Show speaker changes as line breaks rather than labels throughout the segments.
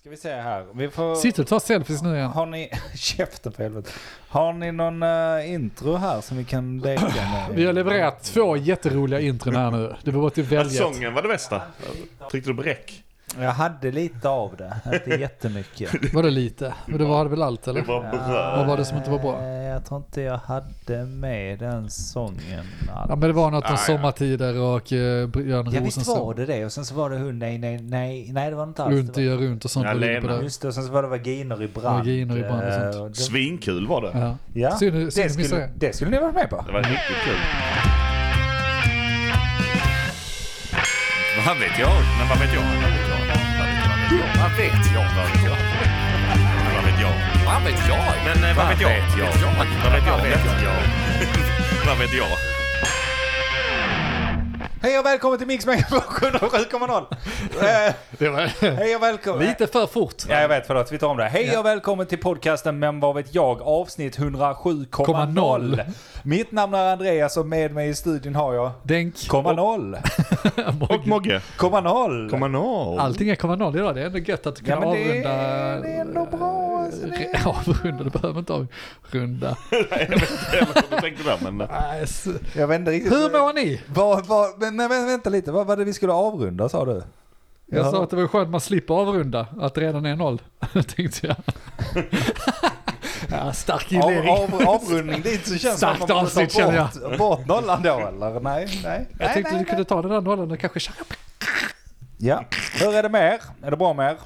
Ska vi se här. Vi får...
Sitter du och tar selfies nu igen?
Har ni... Käften på helvete. Har ni någon eh, intro här som vi kan leka med?
Vi har levererat två jätteroliga intron här nu. Det var bara till att
Ja,
välja. ett.
sången var det bästa. Tryckte du på räck?
Jag hade lite av det. Inte jättemycket.
Var det lite? Men du hade väl allt
Det
eller?
var
Vad
bra.
var det som inte var bra?
Eh, Jag tror inte jag hade med den sången alls.
Ja men det var något om
Ah, ja.
sommartider och eh, Björn
Ja visst var
Rosensson.
det det och sen så var det hon nej nej nej nej det var inte alls
Runt
det.
gör runt och sånt.
Ja,
var det på
Lena.
Var.
där.
Just det och sen så var det vaginer i brand.
Vaginer i brand och sånt.
Eh, och det-
Svinkul var det.
Ja.
Ja,
Synd-
det,
synd att missa
skulle,
det.
det skulle ni varit med på.
Det var riktigt kul.
Vad vet jag?
Men vad vet jag? Vad vet jag?
Vad vet jag?
Vad
Vad vet
vet jag? Men Vad vet jag?
jag?
Men eh, vad vet jag? Vad vet jag?
Vad vet jag?
Vad vet jag?
Hej och välkommen till Mix Megapol 107,0. Eh,
Det var
Hej och välkommen.
lite för fort.
Ja, jag vet, förlåt. Vi tar om det. Hej och välkommen till podcasten Men vad vet jag? Avsnitt 107,0. Mitt namn är Andreas och med mig i studion har jag...
Denk.
Komma noll.
Och Mogge.
Komma noll.
Kommer nå.
Allting är komma noll idag. Det är ändå gött att du
Ja,
kan
men det är-
avrunda.
det är ändå bra, alltså, det är-
eh, Avrunda, du behöver inte avrunda.
Jag tänkte där men... eh,
Nej, s-
Jag vet inte riktigt.
Hur mår ni?
Vad, vad, men, men vänta lite, vad var det vi skulle avrunda sa du?
Jag
Ja.
sa att det var skönt att man slipper avrunda, att det redan är noll. Tänkte jag. ja, stark
Av,
inledning.
av, avrundning dit så känns det som
Starkt
att man måste
avsnitt, känner
ta bort, bort nollan då eller? Nej, nej.
Jag
nej,
tänkte
nej,
du kunde ta den där nollan och kanske köra.
Ja. Hur är det med er? Är det bra med er?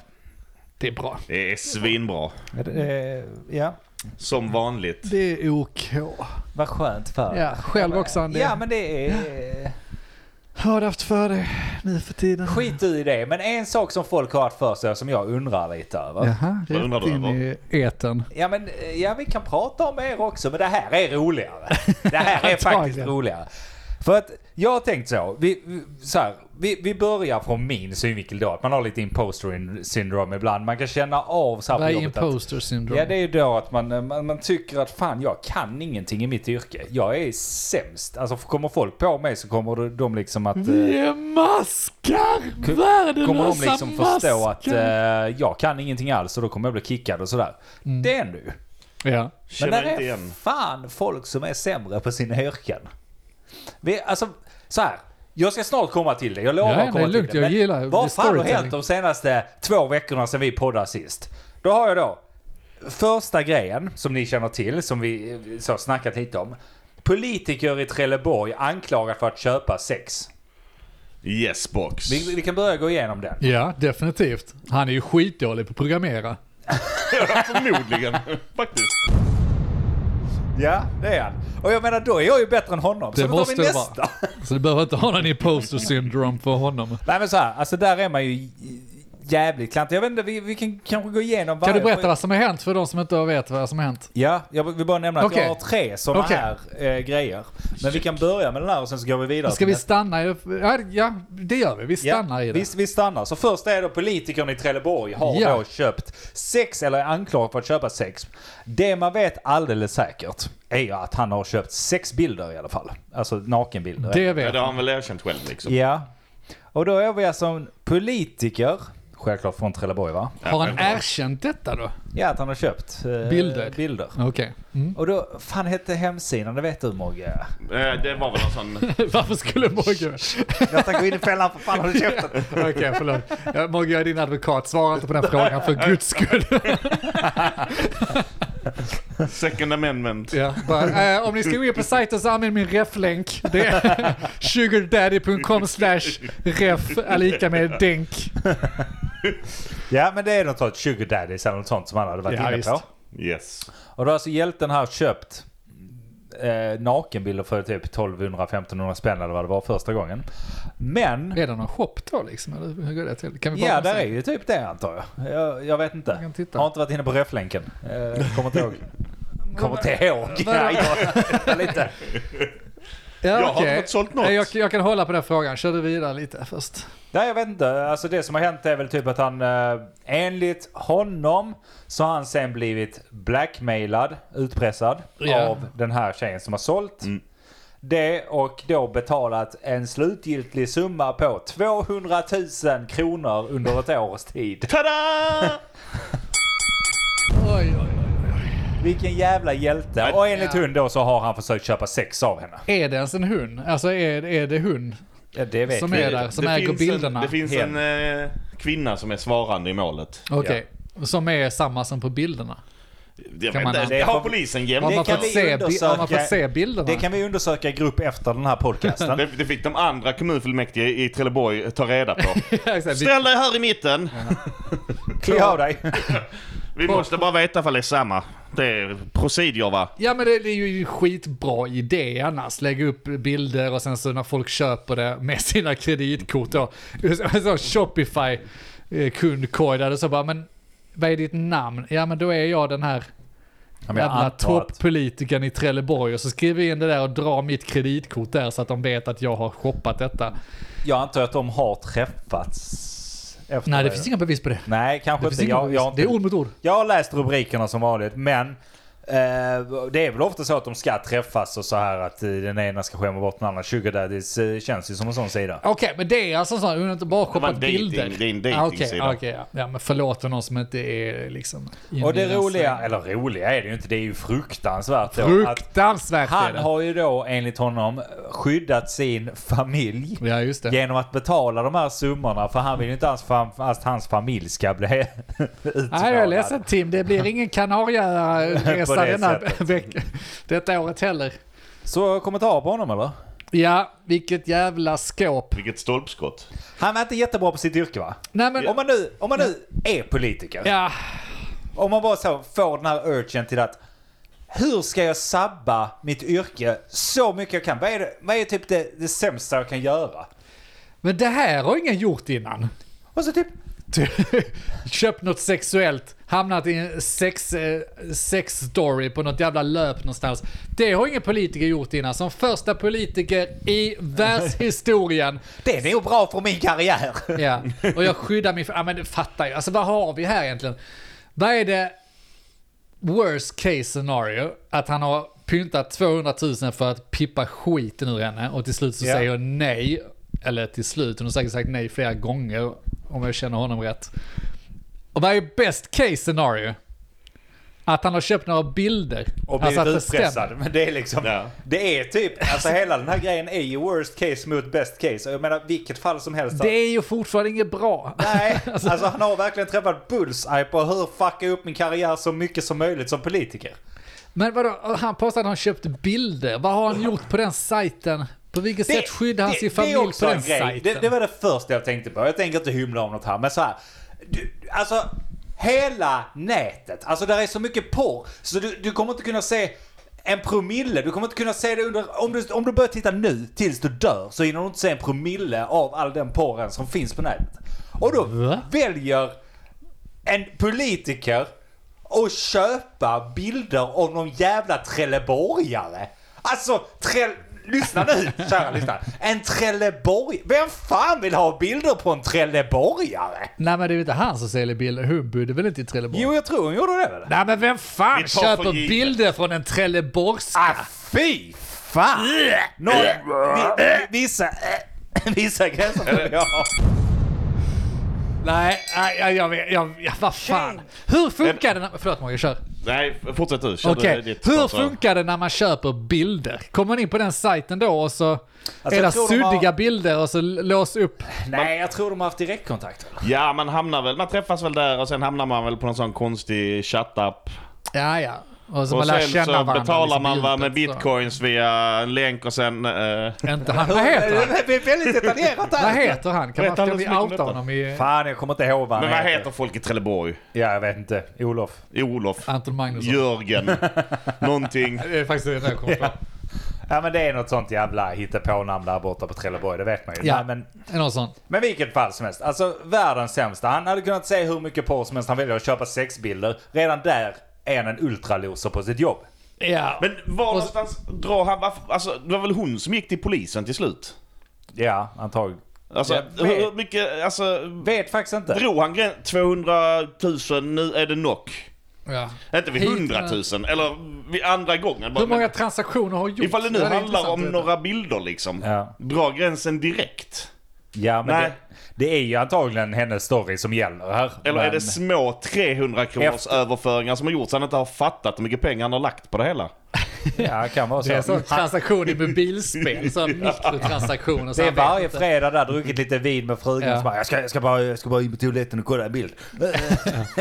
Det är bra.
Det är svinbra.
Är det, eh, ja.
Som vanligt.
Det är OK.
Vad skönt för
Ja, själv också Andy.
Ja men det är...
Har du haft för dig nu för tiden?
Skit i det. Men en sak som folk har haft för sig som jag undrar lite över. Ja.
Jaha,
Vad undrar
rätt
du
in i etern.
men eh, ja, vi kan prata om er också men det här är roligare. Det här är faktiskt
Antagligen.
roligare. För att jag har tänkt så. Vi, vi- så här, vi, vi börjar från min synvinkel då. Att man har lite imposter syndrome ibland. Man kan känna av så här på
Vad är
jobbet att-
imposter syndrome?
Ja det är ju då att man, eh, man, man tycker att fan jag kan ingenting i mitt yrke. Jag är sämst. Alltså kommer folk på mig så kommer de liksom att... eh,
Vi är maskar! Värdelösa
kommer de liksom förstå att
maskar!
eh, jag kan ingenting alls och då kommer jag bli kickad och sådär.
Mm.
Det är nu.
Ja.
Men
Känner
där är
inte igen.
fan folk som är sämre på sina yrken. Vi, alltså, så här. Jag ska snart komma till det. Jag lovar
Ja, det är
att komma
lugnt.
till det.
Jag gillar det. Det är
vad fan har
storytelling.
hänt de senaste två veckorna sedan vi poddade sist? Då har jag då första grejen som ni känner till, som vi eh, så har snackat lite om. Politiker i Trelleborg anklagad för att köpa sex.
Yes box.
Vi, vi kan börja gå igenom den.
ja, definitivt. Han är ju skitdålig på att programmera.
Förmodligen. Faktiskt.
Ja, det är han. Och jag menar, då är jag ju bättre än honom.
Det
så då tar
måste
vi
det
nästa.
vara. Så du behöver inte ha någon imposter syndrome för honom.
Nej men så här, alltså där är man ju jävligt klantig. Jag vet inte, vi, vi kan kanske gå igenom
Kan
varje-
du berätta vad som har hänt för de som inte vet vad som har hänt?
Ja, jag vill bara nämna att
Okej.
jag har tre sådana
Okej.
här eh, grejer. Men vi kan börja med den här och sen så går vi vidare.
Ska
till
vi
nästa.
stanna i... Ja, ja, det gör vi. Vi stannar
ja,
i det.
vi, vi stannar. Så först är då politikern i Trelleborg har
Ja.
då köpt sex, eller är anklagad för att köpa sex. Det man vet alldeles säkert är ju att han har köpt sex bilder i alla fall. Alltså nakenbilder.
Det
Ja,
vet
det
jag.
har han väl erkänt själv liksom.
Ja. Och då är vi alltså en politiker, självklart från Trelleborg va?
Har han erkänt detta då?
Ja, att han har köpt eh,
Bilder.
bilder.
Okej. Mm.
Och då, fan hette hemsidan, det vet du Mogge.
Eh, Det var väl någon sån...
Varför skulle Mogge...
Jag tänker gå in i fällan, för fan har du köpt den?
Okej, förlåt. Ja, Mogge, jag är din advokat. Svara inte på den frågan för guds skull.
Second amendment.
ja, bara, eh, om ni ska gå in på sajten så använd min reflänk. Det är sugardaddy.com slash ref är lika med denk.
Ja, men det är något sånt, Sugar Daddies eller något sånt som han hade varit
Ja,
inne
visst.
på.
Yes.
Och då har alltså hjälten här köpt eh, nakenbilder för typ 1200-1500 spänn eller vad det var första gången. Men,
Är det någon shop då liksom? Eller hur går det till? Kan vi bara
ja där är ju typ det antar jag. Jag, jag vet inte.
Jag kan titta.
Har inte varit inne på reflänken. Eh, kommer inte ihåg. Kommer inte ihåg.
vad-
Nej, jag- jag lite.
Ja,
Jag har
okej.
inte fått sålt något.
Nej, Jag, jag kan hålla på den frågan. Kör du vidare lite först.
Nej jag vet inte. Alltså det som har hänt är väl typ att han eh, enligt honom så har han sen blivit blackmailad, utpressad
Ja.
av den här tjejen som har sålt. Det och då betalat en slutgiltig summa på 200 000 kronor under ett års tid.
Tada!
Oj, oj, oj.
Vilken jävla hjälte. Och enligt
Ja.
hon då så har han försökt köpa sex av henne.
Är det ens en hund? Alltså är, är det hund?
Ja, Det vet
Som
vi.
är där, som
Det
äger
finns
bilderna.
En, det finns en eh, kvinna som är svarande i målet.
Okej. Som är samma som på bilderna.
Jag
Kan
vet
man-
inte,
det
det har
får-
polisen
Har
Det
man,
jämnt.
kan
fått
vi
se, bi- har man
undersöka.
fått se bilderna?
Det kan vi undersöka i grupp efter den här podcasten.
Det, det fick de andra kommunfullmäktige i Trelleborg ta reda på.
Exakt, vi-
Ställ dig här i mitten.
Klä av dig.
Vi måste bara veta ifall det är samma. Det är prosidier va?
Ja men det, det är ju en skitbra idé annars. Lägga upp bilder och sen så när folk köper det med sina kreditkort då. Så, så Shopify eh, kundkod där det så bara men vad är ditt namn? Ja men då är jag den här
Ja, men jag
jävla
antar att-
toppolitikern i Trelleborg och så skriver jag in det där och drar mitt kreditkort där så att de vet att jag har shoppat detta.
Jag antar att de har träffats efter
Nej det finns inga bevis på det.
Nej, kanske
Det, finns
inte.
inga
Jag,
bevis.
jag, har
det är
inte.
ord mot ord.
jag har läst rubrikerna som vanligt, men eh, det är väl ofta så att de ska träffas och så här att eh, den ena ska skämma bort den andra. Sugar daddies eh, känns ju som en sån sida.
Okej, men det är alltså en sån, hon har inte bara
var en
shoppat
dating-
bilder.
det är en
Ah, okej,
datingsida.
ah, okej, ja. ja, men förlåt för någon som inte är liksom... inne
Och
i
det
den
roliga,
svängen.
eller roliga är det ju inte, det är ju fruktansvärt då. Att
Fruktansvärt är
han
det.
har ju då enligt honom skyddat sin familj.
Ja, just det.
Genom att betala de här summorna för han vill ju inte ens fam- att hans familj ska bli utmålad.
Nej, jag är ledsen Tim. Det blir ingen
På
Kanarieresa
det
denna
sättet.
vecka. Detta året heller.
Så kommentar på honom eller?
Ja, vilket jävla skåp.
Vilket stolpskott.
Han var inte jättebra på sitt yrke va?
Nej men...
Om, man nu, om man nu är politiker.
Ja,
Om man bara så får den här urgen till att hur ska jag sabba mitt yrke så mycket jag kan? Vad är, det, vad är typ det, det sämsta jag kan göra?
men det här har ingen gjort innan.
Och så typ,
Ty- Köpt något sexuellt, hamnat i en sex, eh, sex story på något jävla löp någonstans. Det har ingen politiker gjort innan. Som första politiker i världshistorien
det är nog bra för min karriär.
Ja, och jag skyddar min... Ja men det fattar jag. Alltså vad har vi här egentligen? Vad är det worst case scenario? Att han har pyntat 200 000 för att pippa skiten ur henne och till slut så
Ja.
säger hon nej. Eller till slut, hon har säkert sagt nej flera gånger om jag känner honom rätt. Och vad är best case scenario? Att han har köpt några bilder.
Och
Alltså
blivit
att det stämmer.
utpressad. Men det är liksom,
Ja.
det är typ, alltså hela den här grejen är ju worst case mot best case. Och jag menar vilket fall som helst.
Det är ju fortfarande inget bra.
Nej, alltså han har verkligen träffat bullseye på hur fucka upp min karriär så mycket som möjligt som politiker.
Men vadå, han påstår att han köpte bilder. Vad har han gjort på den sajten? På vilket sätt skyddar han
det-
sin
det är
familj
också
på den
en grej.
sajten?
Det, det var det första jag tänkte på. Jag tänker inte hymla om något här, men så här. Du, alltså, hela nätet. Alltså, där är så mycket porr. Så du, du kommer inte kunna se en promille. Du kommer inte kunna se det under... Om du, om du börjar titta nu, tills du dör, så hinner du inte se en promille av all den porren som finns på nätet. Och då
Va?
väljer en politiker att köpa bilder av någon jävla trelleborgare. Alltså, trell... Lyssna nu, kära lyssnare. En trelleborg... Vem fan vill ha bilder på en trelleborgare?
Nej men det är ju inte han som säljer bilder. Hon bodde väl inte i Trelleborg?
Jo, jag tror hon gjorde det väl?
Nej men vem fan
Vi tar för
köper
givet.
bilder från en Trelleborgska?
Ah, fy fan! Nå, vi, vi- vissa... Vissa gränser vill jag ha.
Nej, nej, jag, jag, vet- jag, jag, vad fan. Hur funkar det när... Förlåt Morgan, kör.
Nej, fortsätt du. Kör
Okej,
du ditt
hur
alltså-
sponsor.
funkar det när man köper bilder? Kommer man in på den sajten då och så är
Alltså, jag
det
tror de har-
suddiga bilder och så lås upp?
Nej, jag tror de har haft direktkontakt. väl?
Ja, man hamnar väl, man träffas väl där och sen hamnar man väl på någon sån konstig chattapp.
Ja, ja. Och så
Och
man lär
sen
känna
så
varandra.
betalar
liksom,
man va med
djupet, så.
bitcoins via en länk och sen... eh,
Inte han. Vad heter han?
Det är väldigt detaljerat
Vad
här.
heter han? Kan,
Vet
man,
han
kan vi
så mycket om
outa
detta?
honom i
Fan, jag kommer inte ihåg vad han
Men vad heter folk i Trelleborg?
Ja, jag vet inte. Olof.
Olof?
Anton Magnusson?
Jörgen? någonting?
Det är faktiskt det enda jag kommer på.
Ja men det är något sånt jävla hittepånamn där borta på Trelleborg, det vet man ju.
Ja,
Nej, men,
är någon sån.
men vilket fall som helst. Alltså världens sämsta. Han hade kunnat se hur mycket porr som helst. Han väljer att köpa sexbilder. Redan där är han en ultraloser på sitt jobb.
Ja.
Men var någonstans drar han... varför- Alltså, det var väl hon som gick till polisen till slut?
Ja, antagligen.
Alltså,
Jag vet.
hur mycket... Alltså,
Vet faktiskt inte.
drog han grän- 200 000, nu är det nog.
ja.
Inte vid
Hit-
100 000, eller vid andra gången. Bara,
Hur många
men
transaktioner har gjorts?
ifall det nu
Ja, är
handlar
intressant
om
att veta.
några bilder liksom.
Ja.
Dra gränsen direkt.
Ja, men det,
Nej.
det är ju antagligen hennes story som gäller här.
Eller är
men,
det små 300 kronors överföringar som har gjorts? Han inte har fattat hur mycket pengar han har lagt på det hela.
Ja, kan vara så.
Det är så transaktioner med bilspel, så här mikrotransaktioner. så
Det är
han vet
varje
inte.
fredag där, druckit lite vin med frugan.
Ja.
Ja. Bara, jag, ska, jag, ska bara, jag ska bara in på toaletten och kolla en bild.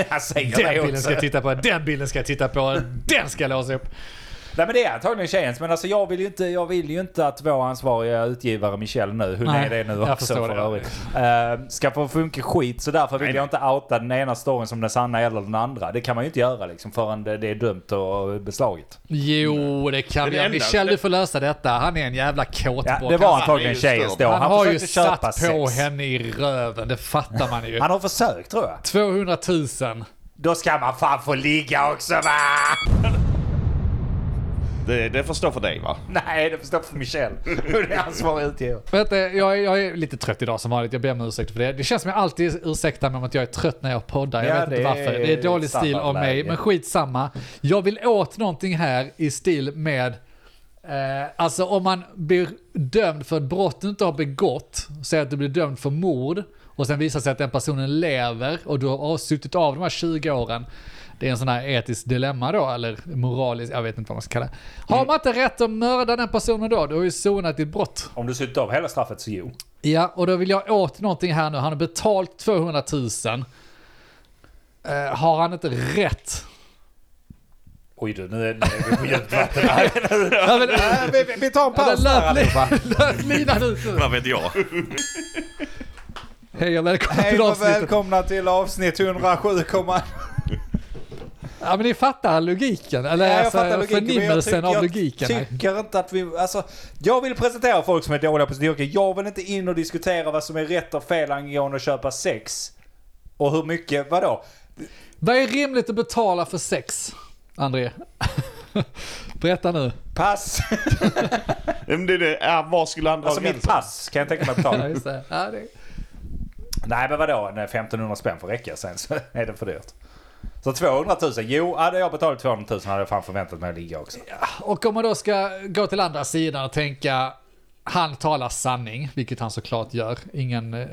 Han säger det
Den bilden
också.
ska jag titta på, den bilden ska jag titta på, den ska jag låsa upp.
Nej men det är antagligen tjejens. Men alltså jag vill ju inte, jag vill ju inte att vår ansvariga utgivare Michelle nu, hon
Nej,
är det nu
jag
också
förstår
för
det.
övrigt. eh, ska få funka skit. Så därför vill jag inte outa den ena storyn som den sanna eller den andra. Det kan man ju inte göra liksom förrän det, det är dömt och beslaget.
Jo, det kan
Den
vi göra.
enda-
Michel, du får lösa detta. Han är en jävla kåtbock.
Ja, det var
han.
antagligen
det är ju
tjejens
störd.
då.
Han har ju
försökte köpa
satt på
sex.
henne i röven, det fattar man ju.
Han har försökt tror jag.
200 000.
Då ska man fan få ligga också va?
Det, det förstår för dig va?
Nej, det förstår för Michelle. Hon är ansvarig utgivare.
Vänta, eh, jag, är- jag är lite trött idag som vanligt, jag ber om ursäkt för det. Det känns som jag alltid ursäktar mig om att jag är trött när jag poddar, jag
Ja,
vet
det
inte varför. Det är
är
dålig
samma
stil av mig,
läge.
men skitsamma. Jag vill åt någonting här i stil med, eh, alltså om man blir dömd för ett brott du inte har begått, säg att du blir dömd för mord, och sen visar sig att den personen lever och du har avsuttit av de här 20 åren. Det är en sån här etisk dilemma då, eller moralisk, jag vet inte vad man ska kalla det. Har man
Mm.
inte rätt att mörda den personen då? Du har ju sonat ditt brott.
Om du suttit av hela straffet så jo.
Ja, och då vill jag åt någonting här nu. Han har betalt 200 000. Eh, har han inte rätt?
Oj du, nu är, nu är vi på djupt vatten. här.
Ja, men, äh,
vi, vi- vi tar en
men
paus där
löp,
allihopa.
löp linan ut nu.
Vad vet jag?
Hej och välkomna
Hej
till
och
avsnittet.
välkomna till avsnitt 107, komma-
Ja, men ni fattar logiken. Eller
Nej, jag
alltså,
fattar logiken, men jag
förnimmelsen
tycker-
av logiken.
Jag tycker inte att vi... Alltså, jag vill presentera folk som är dåliga på sitt yrke. Jag vill inte in och diskutera vad som är rätt och fel angående att köpa sex. Och hur mycket, vadå?
Vad är rimligt att betala för sex, André? Berätta nu.
Pass!
Men det, det, ja, var skulle han dra
Alltså mitt
gränsen?
pass kan jag tänka mig att
Ja,
betala.
just det. Ja, det.
Nej men vadå, en 1500 spänn får räcka sen så är det för dyrt. Så 200 000, jo hade jag betalat 200 000 hade jag fan förväntat mig att ligga också.
Och om man då ska gå till andra sidan och tänka han talar sanning, vilket han såklart gör. Ingen eh,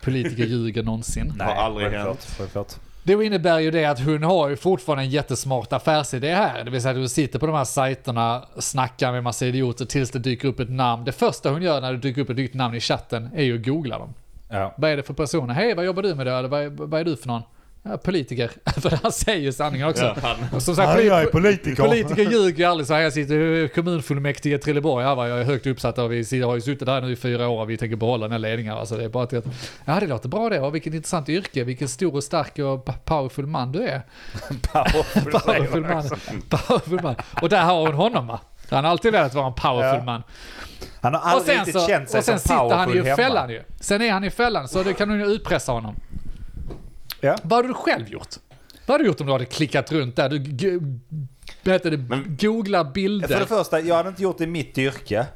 politiker ljuger någonsin.
Nej,
Har aldrig
självklart,
hänt.
Självklart.
Det innebär ju det att hon har ju fortfarande en jättesmart affärsidé här. Det vill säga att hon sitter på de här sajterna, snackar med massa idioter tills det dyker upp ett namn. Det första hon gör när det dyker upp ett nytt namn i chatten är ju att googla dem.
Ja.
Vad är det för personer? Hej, vad jobbar du med då? Eller vad, vad är du för någon? Ja, politiker. för han säger ju sanningen också.
Ja, han-
Och som sagt,
Nej,
poli-
jag är politiker.
Politiker ljuger ju aldrig så här. Jag sitter i kommunfullmäktige i Trelleborg. Ja, va, jag är högt uppsatt och vi sitter- har ju suttit där nu i fyra år och vi tänker behålla den här ledningen. Alltså, det är bara till att, ja, det låter bra det. Och vilket intressant yrke. Vilken stor och stark och p- powerful man du är. Powerful man. Powerful man. Och där har hon honom va? Han har alltid velat vara en powerful
Ja.
man.
Han har
Och
aldrig
sen,
riktigt
så,
känt sig
och sen
som
sitter han ju i
powerful
fällan
hemma.
ju. Sen är han i fällan så det kan hon ju utpressa honom.
Ja.
Vad hade du själv gjort? Vad hade du gjort om du hade klickat runt där? Du g- vad heter det, googlar bilder.
För det första, jag hade inte gjort det i mitt yrke.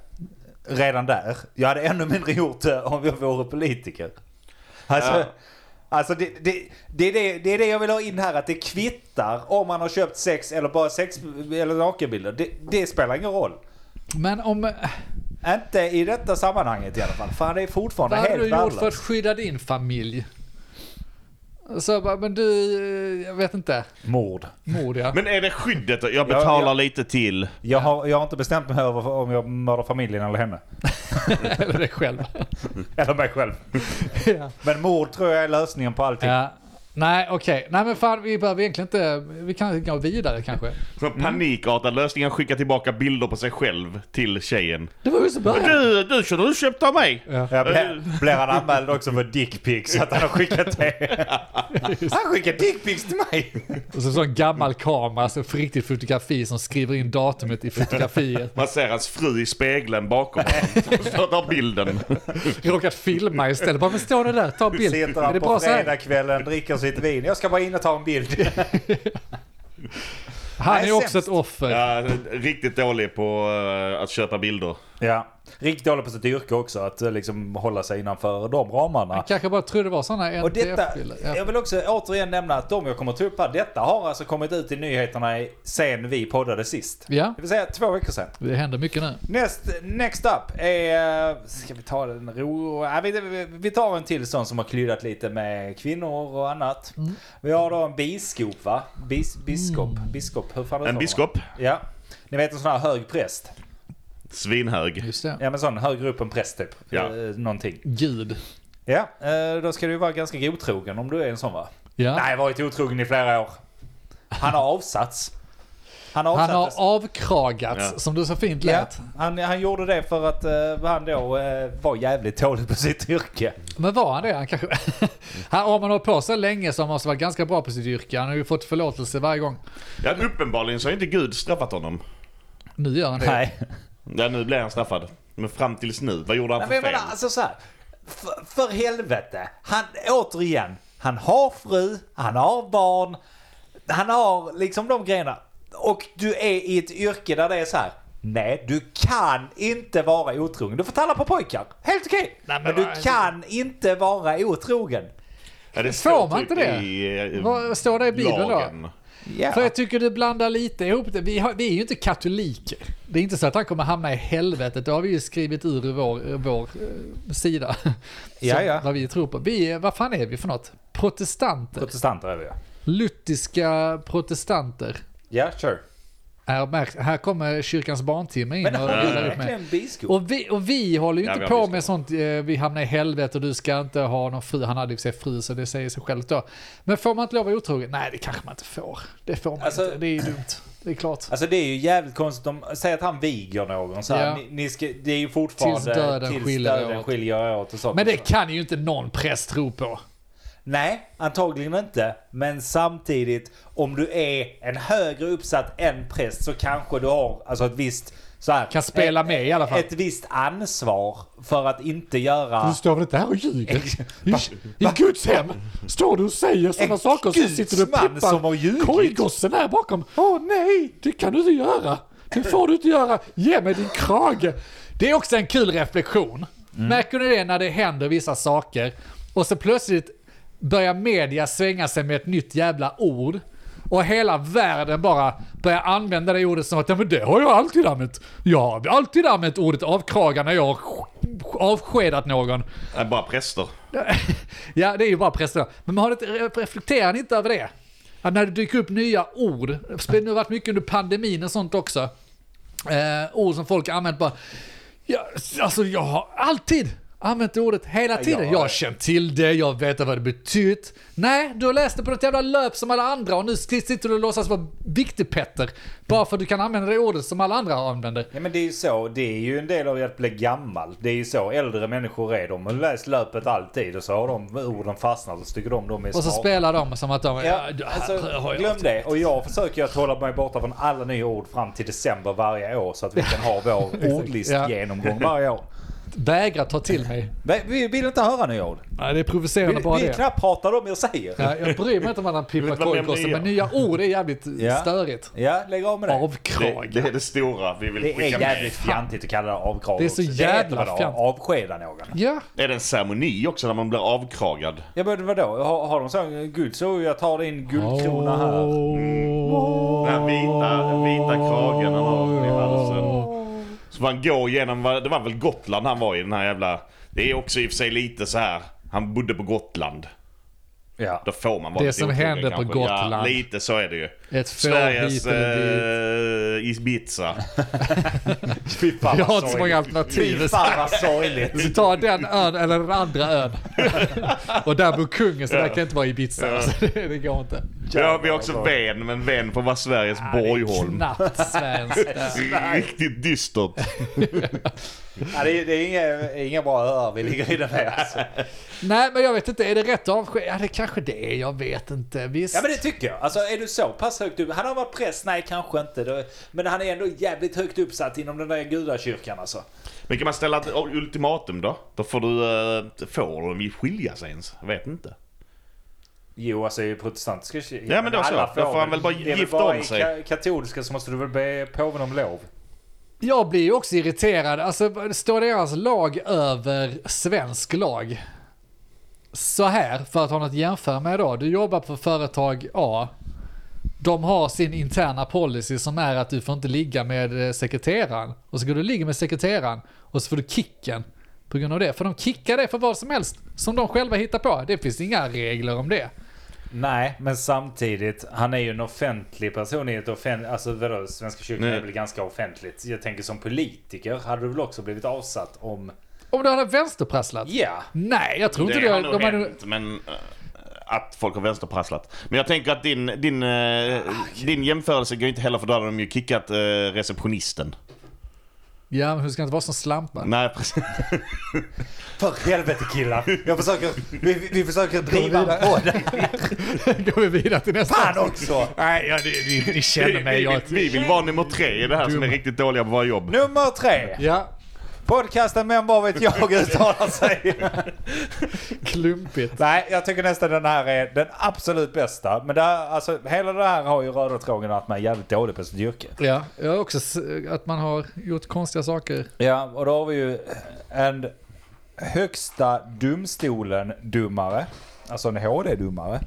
Redan där. Jag hade ännu mindre gjort det om jag vore politiker. Alltså,
Ja.
alltså det, det, det, är det, det är det jag vill ha in här, att det kvittar om man har köpt sex eller bara sex eller nakenbilder. Det, det spelar ingen roll.
Men om...
Inte i detta sammanhanget i alla fall. Fan, det är fortfarande
Vad hade
helt
du gjort för att
värdelöst.
skydda din familj? Så jag bara, men du, eh, jag vet inte.
Mord.
Mord ja.
Men är det skyddet? Jag betalar
ja.
lite till.
Jag har, jag har inte bestämt mig över om jag mördar familjen eller henne.
Eller dig själv.
Eller mig själv.
ja.
Men mord tror jag är lösningen på allting.
ja. Nej okej, nej men fan vi behöver egentligen inte, vi kan gå vidare kanske.
Så
Mm.
Panikartad lösning. Han skickar tillbaka bilder på sig själv till tjejen.
Det var ju så bra.
Du, du kunde du köpt av mig.
Ja.
Ja, blir, blir han anmäld också för dickpics så att han har skickat det? Han skickar dickpics till mig!
Och så en sån gammal kamera, så för riktigt fotografi som skriver in datumet i fotografiet.
Man ser hans fru i spegeln bakom honom. Så tar bilden.
Råkat filma istället. Bara, men står ni där, ta en bild.
Sitter
Är det
han
bra
på
så här?
fredagskvällen, dricker sitt vin. Jag ska bara in och ta en bild.
Han
Nej,
är också
sämst.
ett offer.
Ja, riktigt dålig på eh, att köpa bilder.
Ja. Riktigt dålig på sitt yrke också, att eh, liksom hålla sig innanför de ramarna.
Jag kanske bara trodde det var sådana
Och detta,
NTF-bilder. Ja.
jag vill också återigen nämna att de jag kommer ta upp här, detta har alltså kommit ut i nyheterna i- sen vi poddade sist.
ja,
Det vill säga två veckor sedan.
det händer mycket nu.
Next, next up är... eh, Ska vi ta den ro... ja, vi- vi, vi tar en till sån som har klyddat lite med kvinnor och annat.
Mm.
Vi har då en biskop va? Bis, biskop? Biskop? Hur fan
En
uttalar man?
biskop.
Ja. Ni vet en sån här hög präst?
Svinhög.
Just det.
Ja men sån högre upp än präst typ.
Ja.
Eh, någonting.
Gud.
Ja, eh, då ska du ju vara ganska godtrogen om du är en sån va?
Ja.
Nej, varit otrogen i flera år. Han har avsatts. Han
Han har
avsattes.
avkragats,
Ja.
som du så fint
Ja,
lät.
han, han gjorde det för att eh, han då eh, var jävligt dålig på sitt yrke.
Men var han det? Han kanske... han, om man har på sig länge så har man måste vara ganska bra på sitt yrke. Han har ju fått förlåtelse varje gång.
Ja, uppenbarligen så har inte Gud straffat honom.
Nu gör han det.
Nej.
Ja, nu blir han straffad. Men fram tills nu, vad gjorde han
Nej,
för
men jag
fel?
menar alltså så här. För, för helvete. Han, återigen, han har fru, han har barn, han har liksom de grejerna. Och du är i ett yrke där det är så här. Nej, du kan inte vara otrogen. Du får talla på pojkar. Helt okej.
Nej, men
men, du
vad-
kan inte vara otrogen.
ja, det
Får man inte det?
I, eh,
Vad står det i Bibeln då?
lagen.
Ja.
För jag tycker du blandar lite ihop det. Vi, har, vi är ju inte katoliker. Det är inte så att han kommer hamna i helvetet. Det har vi ju skrivit ur i vår, eh, vår eh, sida.
Ja,
Som-
ja.
Vad vi tror på. Vi är, vad fan är vi för något? Protestanter.
Protestanter är vi ja.
Luttiska protestanter.
Ja, sure.
Här, märks- här kommer kyrkans barntimme in
Men
och
han är
delar upp med.
verkligen biskop.
Och vi, och vi håller ju
Ja,
inte
vi
på
har biskop.
med sånt, eh, vi hamnar i helvete och du ska inte ha någon fru. Han hade ju för sig fru så det säger sig självt då. Men får man inte lov att vara otrogen? Nej, det kanske man inte får. Det får man
Alltså-
inte, det är ju dumt. Det är klart.
Alltså det är ju jävligt konstigt om, säg att han viger någon så här,
Ja.
ni, ni ska, det är ju fortfarande
Tills döden skiljer
döden
åt.
skiljer åt och sånt.
Men det kan ju inte någon präst tro på.
Nej, antagligen inte. Men samtidigt, om du är en högre uppsatt än präst så kanske du har alltså ett visst så här,
Kan spela
ett,
med i alla fall.
ett visst ansvar för att inte göra...
Du står väl inte här och ljuger? I, i Guds hem står du och säger sådana
En
saker och så
Guds
sitter du och
man som har
pippar
ljugit.
korggossen här bakom. Åh nej, det kan du inte göra. Det får du inte göra. Ge mig din krage.
Det är också en kul reflektion.
Mm.
Märker ni det när det händer vissa saker och så plötsligt börjar media svänga sig med ett nytt jävla ord och hela världen bara börjar använda det ordet som att ja, men det har jag alltid använt. Jag har alltid använt ordet avkraga när jag har avskedat någon.
Nej, bara präster.
Ja, det är ju bara prästerna. Men man har lite, reflekterar ni inte över det? Att när det dyker upp nya ord, spe- nu har det varit mycket under pandemin och sånt också. Eh, ord som folk har använt bara, ja, alltså jag har alltid använt det ordet hela tiden.
ja.
Jag har känt till det, jag vet vad det betytt. Nej, du har läst det på något jävla löp som alla andra och nu sitter du och låtsas vara viktigpetter. Bara för att du kan använda det ordet som alla andra använder.
Ja men det är ju så, det är ju en del av att bli gammal. Det är ju så äldre människor är. De har läst löpet alltid och så har de orden fastnat och så tycker de de är
Och så
smarta.
spelar de som att de...
Ja,
det här
alltså,
har jag
glöm
alltid
det. Och jag försöker att hålla mig borta från alla nya ord fram till december varje år så att vi kan ha vår ordlistgenomgång varje år.
Vägrar ta till mig.
Nej, Vi vill inte höra nya ord.
Nej, det är provocerande
Vi,
bara
vi
det.
knappt pratar om jag säger. Ja.
Ja, jag bryr mig inte om att han pippar
vet vad jag
korvkrossen,
menar.
men nya ord är jävligt
Ja.
störigt.
lägg av med det.
Det,
Avkrag.
det är det stora vi vill
Det är
skicka med.
jävligt fjantigt att kalla det avkrav.
Det är så
också.
jävla
heter väl
fjantigt.
Avskeda någon.
Ja,
Är det en ceremoni också när man blir avkragad?
Ja men vadå? Har, har de så? Gud så jag tar din guldkrona här.
Den här vita, den vita kragen han har i
alltså
halsen. Så man går genom, det var väl Gotland han var i den här jävla... Det är också i och för sig lite så här. han bodde på Gotland.
Ja.
Då får man vara
Det
lite
som
otrogen
händer på
kanske. Ja,
Gotland.
lite så är det ju.
ett får hit
Sveriges
eller dit.
eh, Ibiza.
Fy fan
Jag
vad
har inte så många
sorgligt. Fy
alternativ.
fan vad sorgligt.
Så ta den ön eller den andra ön. Och där bor kungen, så där kan jag inte vara Ibiza. Alltså, det, det går inte.
Ja, vi har också Ven, men Ven får vara Sveriges Borgholm.
Knappt svenskt.
Riktigt dystert.
Ja, det, är- det är inga, inga bra öar vi ligger i den här alltså.
Nej, men jag vet inte. Är det rätt avsked? Ja, det kanske det är. Jag vet inte. Visst.
Ja men det tycker jag. Alltså är du så pass högt upp? Han har varit präst? Nej kanske inte. Det- Men han är ändå jävligt högt uppsatt inom den där gudakyrkan alltså.
Men kan man ställa ett ultimatum då? Då får du... eh, Får de skilja sig ens? Jag vet inte.
Jo alltså i protestantiska kyrkan.
Ja, men då så. Då får han väl bara
Det är
gifta
bara
om
i
sig.
ka- katolska så måste du väl be påven om lov.
Jag blir ju också irriterad. Alltså, står deras lag över svensk lag? Så här, för att ha något att jämföra med då. Du jobbar på företag A. De har sin interna policy som är att du får inte ligga med eh, sekreteraren. Och så går du och ligger med sekreteraren och så får du kicken på grund av det. För de kickar dig för vad som helst som de själva hittar på. Det finns inga regler om det.
Nej, men samtidigt, han är ju en offentlig person i ett offentligt... Alltså vadå, Svenska kyrkan
Nej.
är väl ganska offentligt. Jag tänker som politiker hade du väl också blivit avsatt om...
Om du hade vänsterprasslat?
Ja,
Nej, jag tror inte
Det
det.
har nog
De hade-
hänt, men... eh, Att folk har vänsterprasslat. Men jag tänker att din, din,
Ah,
eh, din jämförelse går ju inte heller för då hade de ju kickat eh, receptionisten.
Ja, men hur ska inte vara som slampar?
Nej, precis.
för helvete killar. Jag försöker... Vi, vi- vi försöker driva
vidare.
på det
går vi vidare till nästa.
fan också.
Nej, ja, ni, ni, ni
Vi,
känner mig.
vi,
Jag...
vi vill vara nummer tre i det här som är riktigt dåliga på våra jobb.
Nummer tre.
Ja,
Podcasten Men vad vet jag uttalar sig.
klumpigt.
Nej, jag tycker nästan den här är den absolut bästa. Men det här, alltså, hela det här har ju röda tråden att man är jävligt dålig på sitt yrke.
Ja, jag har också s- att man har gjort konstiga saker.
Ja, och då har vi ju en högsta domstolen-domare, alltså en HD-domare,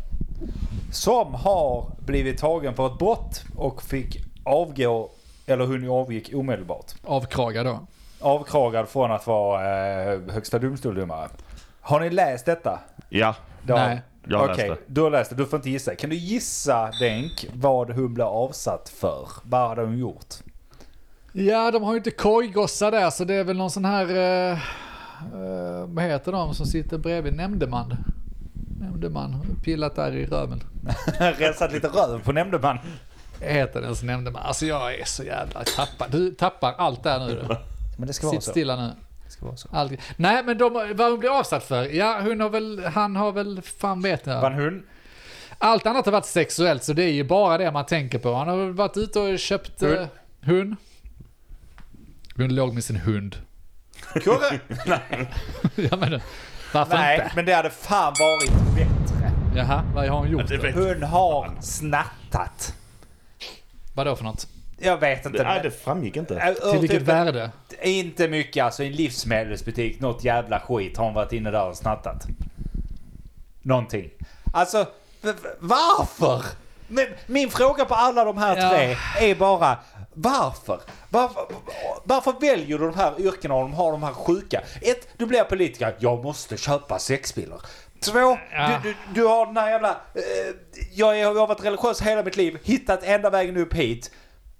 som har blivit tagen för ett brott och fick avgå, eller hon avgick omedelbart.
Avkraga då.
Avkragad från att vara eh, högsta domstoldomare. Har ni läst detta?
Ja.
Det har-
Nej.
Jag har
Okej,
läst
du har läst det. Du får inte gissa. Kan du gissa, Denk, vad hon blev avsatt för? Vad hade hon gjort?
Ja, de har ju inte kojgossar där, så det är väl någon sån här... Eh, eh, vad heter de som sitter bredvid? Nämndeman. Nämndeman. Pillat där i röven.
Rensat lite röv på nämndeman.
Heter den så nämndeman. Alltså jag är så jävla tappad. Du tappar allt där nu. du.
Men det ska vara
Sitt
så.
stilla nu.
Det ska vara så.
Aldrig. Nej, men de, vad hon blir avsatt för? Ja, hon har väl, han har väl, fan vet jag.
Vann hon?
Allt annat har varit sexuellt, så det är ju bara det man tänker på. Han har väl varit ute och köpt hund. Eh, hund. Hon låg med sin hund.
Kurre?
ja, men, varför
Nej,
inte?
men det hade fan varit bättre.
Jaha, vad har hon gjort?
Det vet-
Hon har snattat.
Vadå för något?
Jag vet inte.
Nej, det framgick inte.
Ur- ur
Till vilket
typ-
värde?
Inte mycket. Alltså i en livsmedelsbutik, något jävla skit har hon varit inne där och snattat. Någonting. Alltså, v- v- varför? Men Min fråga på alla de här
Ja.
tre är bara varför? varför? Varför väljer du de här yrkena och de har de här sjuka? Ett, du blir politiker. Jag måste köpa sexpiller. Två,
Ja.
du, du, du har den här jävla... Eh, jag, är, jag har varit religiös hela mitt liv. Hittat enda vägen upp hit.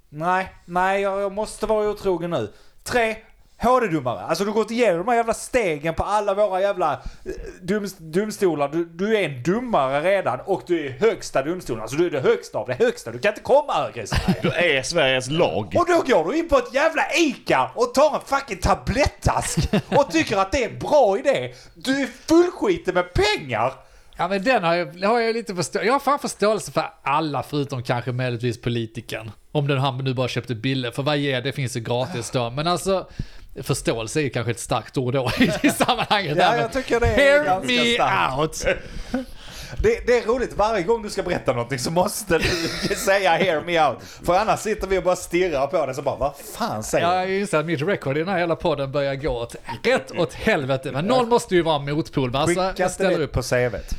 Nej, nej, jag, jag måste vara otrogen nu. Tre, HD-domare. Alltså du har gått igenom de här jävla stegen på alla våra jävla eh, doms- domstolar. Du, du är en dummare redan och du är i högsta domstolen. Alltså du är det högsta av det högsta. Du kan inte komma högre i Sverige.
Du är Sveriges lag.
Och då går du in på ett jävla ICA och tar en fucking tablettask och tycker att det är en bra idé. Du är fullskiten med pengar.
Ja, men den har jag, har jag lite förstå- Jag har fan förståelse för alla förutom kanske möjligtvis politikern. Om den han nu bara köpte bilder. För vad ger det? finns ju gratis då. Men alltså, förståelse är ju kanske ett starkt ord då i i sammanhanget.
Ja,
här, men
jag tycker det är
Hear
ganska
me
starkt.
out!
Det, det är roligt, varje gång du ska berätta någonting så måste du säga hear me out. För annars sitter vi och bara stirrar på det så bara vad fan säger du?
Jag inser att mitt record i den här hela podden börjar gå åt, rätt åt helvete. Men någon måste ju vara en motpol. va? Alltså,
Skicka
jag
inte
ställer
det
upp.
på CVt.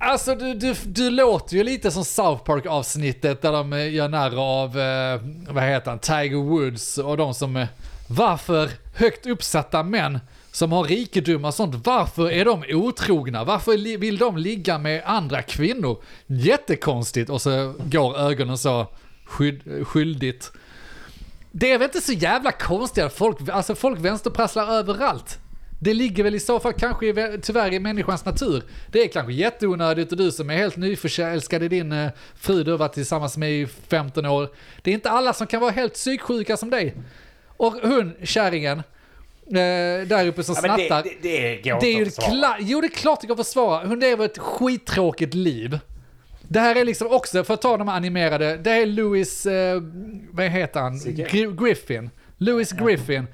Alltså du, du, du låter ju lite som South Park-avsnittet där de eh, gör narr av, eh, vad heter han, Tiger Woods och de som, eh, varför högt uppsatta män som har rikedomar och sånt, varför är de otrogna? Varför li- vill de ligga med andra kvinnor? Jättekonstigt. Och så går ögonen så skyld, skyldigt. Det är väl inte så jävla konstigt att folk, alltså folk vänsterprasslar överallt. Det ligger väl i så fall kanske i, vä- tyvärr i människans natur. Det är kanske jätteonödigt och du som är helt nyförälskad i din eh, fru du har varit tillsammans med i 15 år. Det är inte alla som kan vara helt psyksjuka som dig. Och hon, kärringen, eh, där uppe som
men det,
snattar.
det, det går
Det är ju
inte att försvara.
klart, jo det är klart det går att försvara. Hon lever ett skittråkigt liv. Det här är liksom också, för att ta de här animerade, det här är Louis, eh, vad heter han?
CK?
Gri- Griffin. Louis Griffin.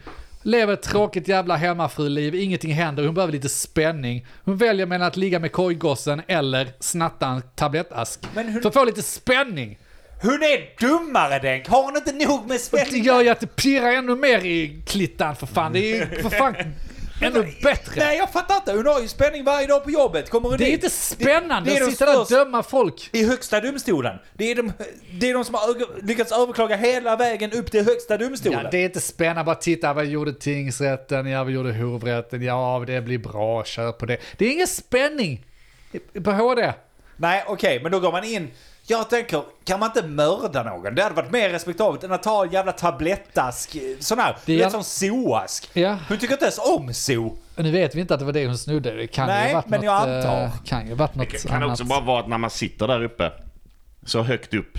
Lever ett tråkigt jävla hemmafruliv, ingenting händer, hon behöver lite spänning. Hon väljer mellan att ligga med kojgossen eller snatta en tablettask.
Men hur-
För att få lite spänning.
Hon är dummare Denk! Har hon inte nog med
Det
svenska?
gör ju att det pirrar ännu mer i klittan för fan. Det är ju för fan ännu bättre.
Nej jag fattar inte, hon har ju spänning varje dag på jobbet. Kommer hon
Det är
dit?
inte spännande
det är
att
de
sitta där och
största-
döma folk.
I högsta domstolen. Det är de, det är de som har ög- lyckats överklaga hela vägen upp till högsta domstolen.
Ja, det är inte spännande. Bara titta, vad gjorde tingsrätten? Ja, vad gjorde hovrätten? Ja, det blir bra. Kör på det. Det är ingen spänning på HD.
Nej okej, men då går man in. Jag tänker, kan man inte mörda någon? Det hade varit mer respektabelt än att ta en jävla tablettask, eh, sån här,
Det är
du vet
jävla-
sån zooask.
Ja.
Hon tycker inte ens om zoo.
Nu vet vi inte att det var det hon snodde. Det kan
Nej,
ju varit
men
något,
jag antar.
eh, kan ju varit något
Det kan
annat.
också bara vara att när man sitter där uppe, så högt upp,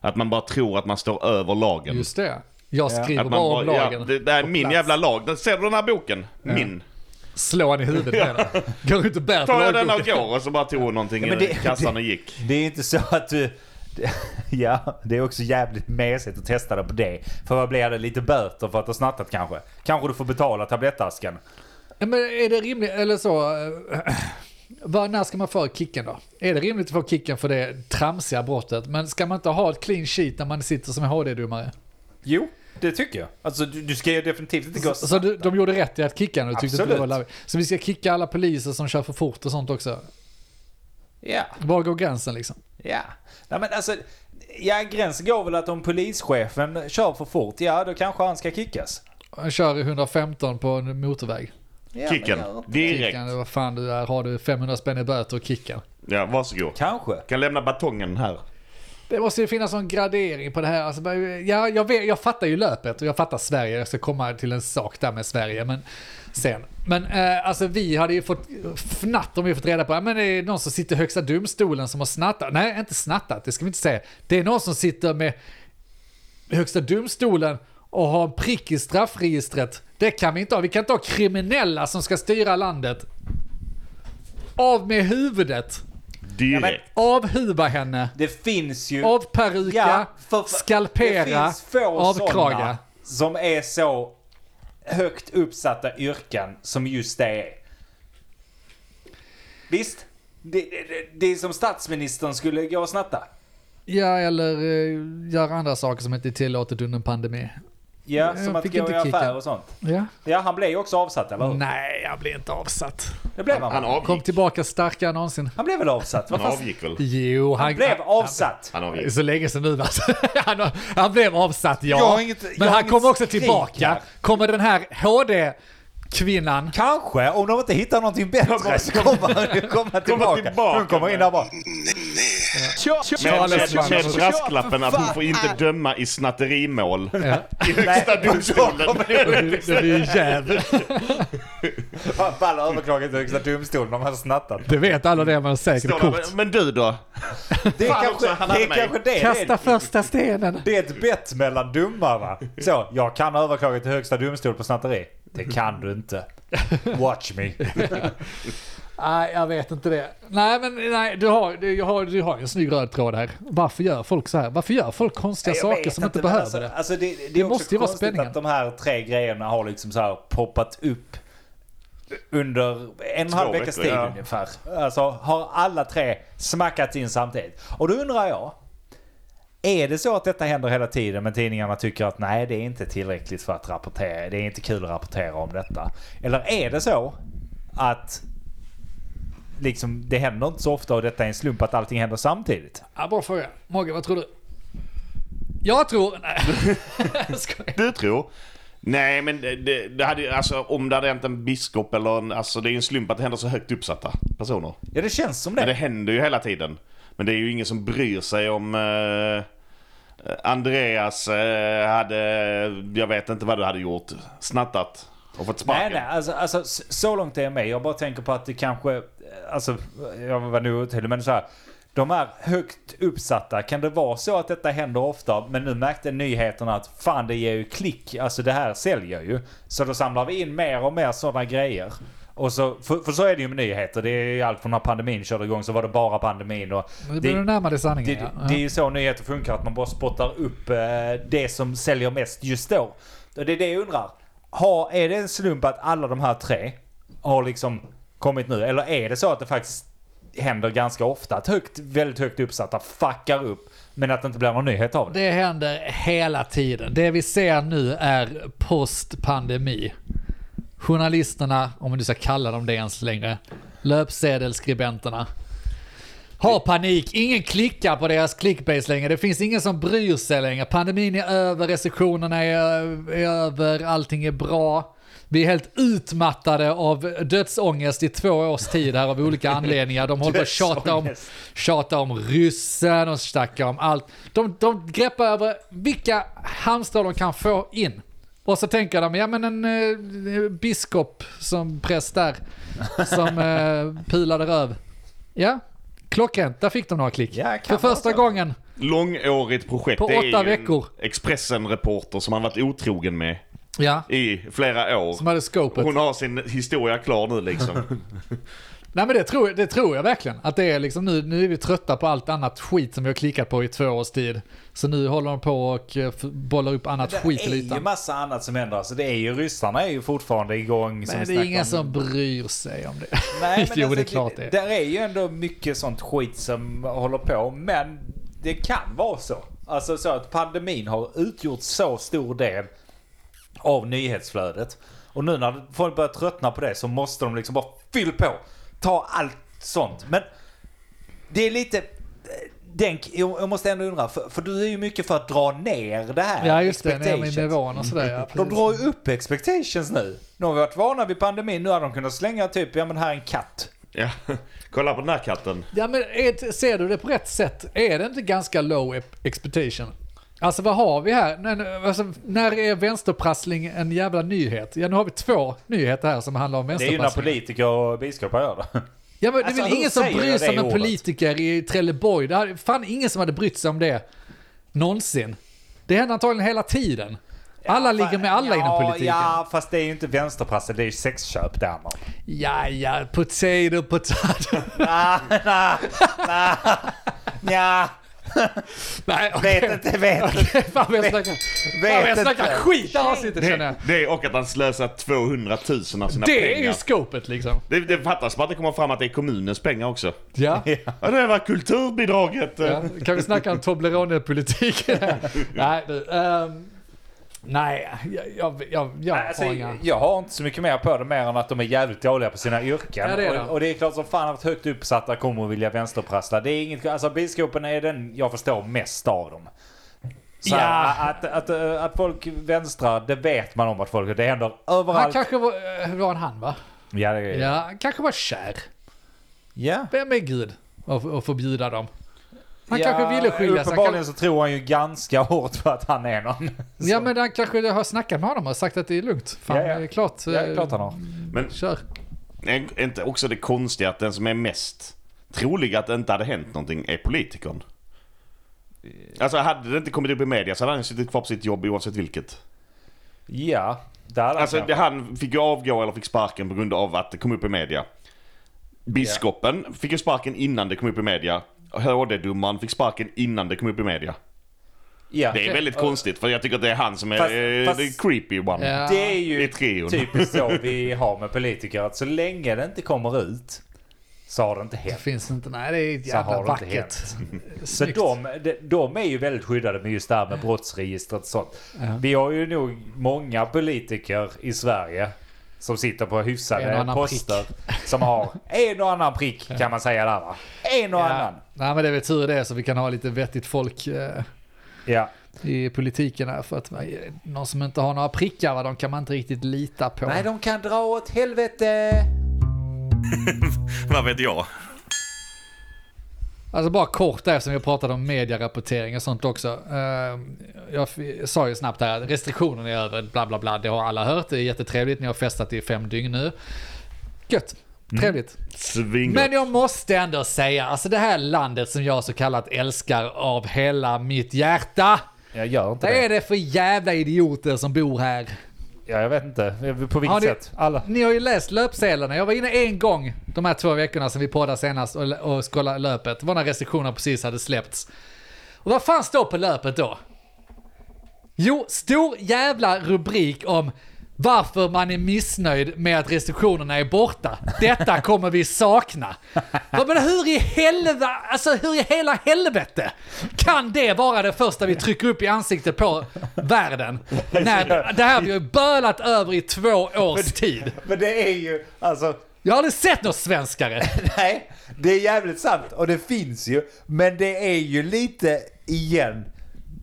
att man bara tror att man står över lagen.
Just det. Jag skriver
att man
bara om
ja,
lagen.
det, det är
på
min
plats.
jävla lag. Den- Ser du den här boken? Min.
Slå han i huvudet med den. Går ut och bär på
Tar jag den
lagboken.
och går och så bara tog hon någonting
Ja, men
i
det-
kassan och gick.
Det är inte så att du... Ja, det är också jävligt mesigt att testa det på det. För vad blir det? Lite böter för att ha snattat kanske? Kanske du får betala tablettasken?
Ja, Men är det rimligt, eller så, eh, vad, när ska man få kicken då? Är det rimligt att få kicken för det tramsiga brottet? Men ska man inte ha ett clean sheet när man sitter som HD-domare?
Jo, det tycker jag. Alltså du, du ska ju definitivt inte gå...
Så, så du, de gjorde rätt i att kicka nu, tyckte inte du
Absolut.
var larvigt. Så vi ska kicka alla poliser som kör för fort och sånt också.
Ja,
Var går gränsen liksom?
ja. Nej men alltså... Ja, gränsen går väl att om polischefen kör för fort, ja då kanske han ska kickas.
Han kör i 115 på en motorväg.
Ja,
Kicken.
men ja,
Direkt.
Kickan, vad fan du är, har du 500 spänn i böter och kickan.
Ja, varsågod.
Kanske.
Kan lämna batongen här.
Det måste ju finnas någon gradering på det här. Alltså, bara, ja, jag, vet, jag fattar ju löpet och jag fattar Sverige. Jag ska komma till en sak där med Sverige men sen. Men eh, alltså vi hade ju fått fnatt om vi fått reda på att det är någon som sitter i högsta domstolen som har snattat. Nej, inte snattat, det ska vi inte säga. Det är någon som sitter med högsta domstolen och har en prick i straffregistret. Det kan vi inte ha. Vi kan inte ha kriminella som ska styra landet. Av med huvudet.
Direkt.
Avhuva henne.
Det finns ju...
Av peruka,
Ja, för- Det
skalpera,
finns få sådana
avkraga.
som är så högt uppsatta yrken som just det är. Visst? Det, det, det är som statsministern skulle gå och snatta.
Ja, eller eh, göra andra saker som inte är tillåtet under en pandemi.
Ja,
Jag
som att
fick
gå
inte
i
kicka.
affär och sånt.
Ja.
Ja, han blev ju också avsatt, eller hur?
Nej, jag blir inte avsatt.
Det blev han.
Han
Han,
Kom
avgick.
tillbaka starkare än någonsin.
han blev väl avsatt? Vad
Han
fan?
avgick väl?
Jo, han...
Han blev avsatt.
Han
Det är
avgick.
Så länge sedan nu va? han, har- han blev avsatt, ja.
Jag har inget- jag
Men
har
han
inget
kommer också
skrik
tillbaka.
här.
Kommer den här HD-kvinnan
Kanske, om de inte hittar någonting bättre så kommer han ju komma tillbaka.
tillbaka.
Hon kommer in där bara.
Men
Charles
med, med
Manson.
brasklappen att hon får inte döma i snatterimål. I högsta
Nej,
domstolen.
Det är ju jävel.
Han faller överklagat till Högsta domstolen om han har snattat.
Det vet alla det man säkert kort.
Men- Men du då?
Det är
Fan
kanske
också, han hade
det. Är
mig.
kanske det. Det,
Kasta
är,
första stenen.
det är ett bett mellan domarna. Så, jag kan överklaga till högsta domstol på snatteri. Det kan du inte. Watch me.
Nej, jag vet inte det. Nej, men nej, du, har, du, har, du har ju en snygg röd tråd här. Varför gör folk så här? Varför gör folk konstiga saker som inte behöver
alltså,
det?
Alltså det, det, är
Det
också
måste ju vara
konstigt
spänningen.
att de här tre grejerna har liksom så här poppat upp under en och en halv
veckor,
veckas tid
ja.
ungefär. Alltså har alla tre smackats in samtidigt. Och då undrar jag. Är det så att detta händer hela tiden men tidningarna tycker att nej det är inte tillräckligt för att rapportera, det är inte kul att rapportera om detta. Eller är det så att liksom, det händer inte så ofta och detta är en slump att allting händer samtidigt?
Ja, bra fråga. Mogge, vad tror du? Jag tror... Nej, jag skojar.
Du tror? Nej men det, det, det hade ju, alltså om det hade hänt en biskop eller en, alltså det är ju en slump att det händer så högt uppsatta personer.
Ja det känns som
Men det händer ju hela tiden. Men det är ju ingen som bryr sig om eh, Andreas eh, hade, jag vet inte vad du hade gjort, snattat och fått sparken.
Nej, nej, alltså, alltså s- så långt är jag med. Jag bara tänker på att det kanske, alltså jag var nu otydlig, men så här. De här högt uppsatta, kan det vara så att detta händer ofta? Men nu märkte nyheterna att fan det ger ju klick, alltså det här säljer ju. Så då samlar vi in mer och mer sådana grejer. Och så, för, för så är det ju med nyheter, det är ju allt från när pandemin körde igång så var det bara pandemin och...
Nu börjar du närma dig sanningen.
Det,
ja. Ja.
det är ju så nyheter funkar, att man bara spottar upp eh, det som säljer mest just då. Och Det är det jag undrar. Har, är det en slump att alla de här tre har liksom kommit nu? Eller är det så att det faktiskt händer ganska ofta att högt, väldigt högt uppsatta fuckar upp men att det inte blir någon nyhet av det.
Det händer hela tiden. Det vi ser nu är postpandemi. Journalisterna, om vi nu ska kalla dem det ens längre, löpsedelskribenterna, har panik. Ingen klickar på deras clickbase längre. Det finns ingen som bryr sig längre. Pandemin är över, restriktionerna är, är över, allting är bra. Vi är helt utmattade av dödsångest i två års tid här av olika anledningar. De håller på att tjata om,
Dödsångest.
tjata om ryssen och snackar om allt. De, de greppar över vilka hamstrar de kan få in. Och så tänker de, ja men en eh, biskop som präst där, som eh, pilade röv. Ja, klockrent. Där fick de några klick.
Ja,
För
kan vara
första
så.
gången.
Långårigt projekt.
På
Det är
åtta
ju en
veckor.
Expressen-reporter som han varit otrogen med
Ja,
i flera år.
som hade scopet.
Hon har sin historia klar nu liksom.
Nej men det tror, jag- det tror jag verkligen. Att det är liksom nu, nu är vi trötta på allt annat skit som vi har klickat på i två års tid. Så nu håller de på och eh, f- bollar upp annat skit i
det är ju
ytan.
massa annat som händer. Alltså det är ju, ryssarna är ju fortfarande igång. som
Men
vi
det är
snackade
ingen
om.
som bryr sig om det.
Nej, men
jo
alltså,
det är klart det.
Där är ju ändå mycket sånt skit som håller på. Men det kan vara så. Alltså så att pandemin har utgjort så stor del av nyhetsflödet. Och nu när folk börjar tröttna på det så måste de liksom bara fyll på. Ta allt sånt. Men det är lite... eh, Denk, jag jag måste ändå undra, för, för du är ju mycket för att dra ner det här.
Ja just det, ner med
expectations.
nivån och sådär. Ja,
De
precis.
drar ju upp expectations nu. Nu har vi varit vana vid pandemin, nu hade de kunnat slänga typ, ja men här är en katt.
ja. Kolla på den här katten.
Ja men är, ser du det på rätt sätt? Är det inte ganska low ep- expectation? Alltså vad har vi här? Nej, nej, alltså, när är vänsterprassling en jävla nyhet? Ja nu har vi två nyheter här som handlar om
Det är ju när
vänsterprassling.
politiker och biskopar gör det.
Ja men
Alltså,
det är väl
hur
ingen som
säger
bryr
jag
sig om
det
en
ordet?
politiker i Trelleborg. Det hade, fan ingen som hade brytt sig om det. Någonsin. Det händer antagligen hela tiden. Alla ligger med alla
ja,
inom politiken. Ja,
Ja, fast det är ju inte vänsterprassel, det är ju sexköp där man.
ja, potato, potato.
Ah, nah, nah, nja,
Nej, okej.
vet inte, vet inte.
Okej, Fan vad jag snackar, fan, vad jag
inte.
snackar skit det här avsnittet känner jag.
Det, det är och att han slösar 200 000 av sina
Det är
pengar.
ju scopet liksom.
Det, det fattas bara att det kommer fram att det är kommunens pengar också.
Ja.
Ja, det var kulturbidraget.
Ja, kan vi snacka om Toblerone-politik? nej, du, ehm, nej, jag, jag, jag, jag
Alltså,
har inga...
jag har inte så mycket mer på det mer än att de är jävligt dåliga på sina yrken.
Ja, det är de.
och, och det är klart som fan att högt uppsatta kommer att vilja vänsterprassla. Det är inget, alltså biskopen är den jag förstår mest av dem. Så
Ja.
här, att, att, att, att folk vänstrar, det vet man om att folk, det händer
Han
överallt.
kanske var, eh, var en han va?
Ja, det är...
Ja, han kanske var kär.
ja.
Vem är Gud att att förbjuda dem? Han kanske ville skilja sig. Han
Uppenbarligen
kan,
så tror han ju ganska hårt på att han är någon.
ja, men han kanske har snackat med honom och sagt att det är lugnt. Fan,
Ja, ja.
det är klart.
Ja, det är
eh,
klart han har. Mm.
Men
Kör.
är inte också det konstiga att den som är mest trolig att det inte hade hänt någonting är politikern? Alltså hade det inte kommit upp i media så hade han suttit kvar på sitt jobb oavsett vilket.
Ja, där hade han
Alltså
kanske-
det, han fick ju avgå eller fick sparken på grund av att det kom upp i media. Biskopen fick ju sparken innan det kom upp i media. HD-domaren fick sparken innan det kom upp i media.
ja.
Det är väldigt konstigt för jag tycker att det är han som är
Fast-
eh,
fast- Typ.
the creepy one.
Ja.
Det är ju
I trion.
typiskt så vi har med politiker. Att så länge det inte kommer ut så har det inte
Det
hänt.
finns inte. Nej, det är
Så har
jävla
det inte
vackert.
Så
Snyggt.
de, de- de är ju väldigt skyddade med just det här med brottsregistret och sånt. Vi har ju nog många politiker i Sverige som sitter på
En och
hyfsade
annan
poster. Som har en och annan prick kan man säga där va? En och annan.
Nej, men det är väl tur det, så vi kan ha lite vettigt folk eh,
Ja.
i politiken här. För att eh, någon som inte har några prickar, va, de kan man inte riktigt lita på.
Nej, de kan dra åt helvete.
Vad vet jag?
Alltså bara kort där som vi pratade om medierapportering och sånt också. Eh, Jag f- sa ju snabbt här att restriktionerna är över, bla bla bla, det har alla hört, det är jättetrevligt, ni har festat i fem dygn nu. Gött,
Mm.
trevligt.
Svingo.
Men jag måste ändå säga, alltså det här landet som jag så kallat älskar av hela mitt hjärta.
Jag gör inte
Vad
det.
är det för jävla idioter som bor här?
Ja, jag vet inte. På vilket
Har ni-
sätt? Alla.
Ni har ju läst löpsedlarna. Jag var inne en gång de här två veckorna som vi poddade senast och, och scrollade löpet. Det var när restriktionerna precis hade släppts. Och vad fan står på löpet då? Jo, stor jävla rubrik om varför man är missnöjd med att restriktionerna är borta. Detta kommer vi sakna. Vad Men hur i helvete, alltså hur i hela helvete kan det vara det första vi trycker upp i ansiktet på världen? När det här vi har ju bölat över i två års tid.
Men det är ju, alltså,
Jag har aldrig sett någon svenskare.
nej, det är jävligt sant och det finns ju. Men det är ju lite, igen,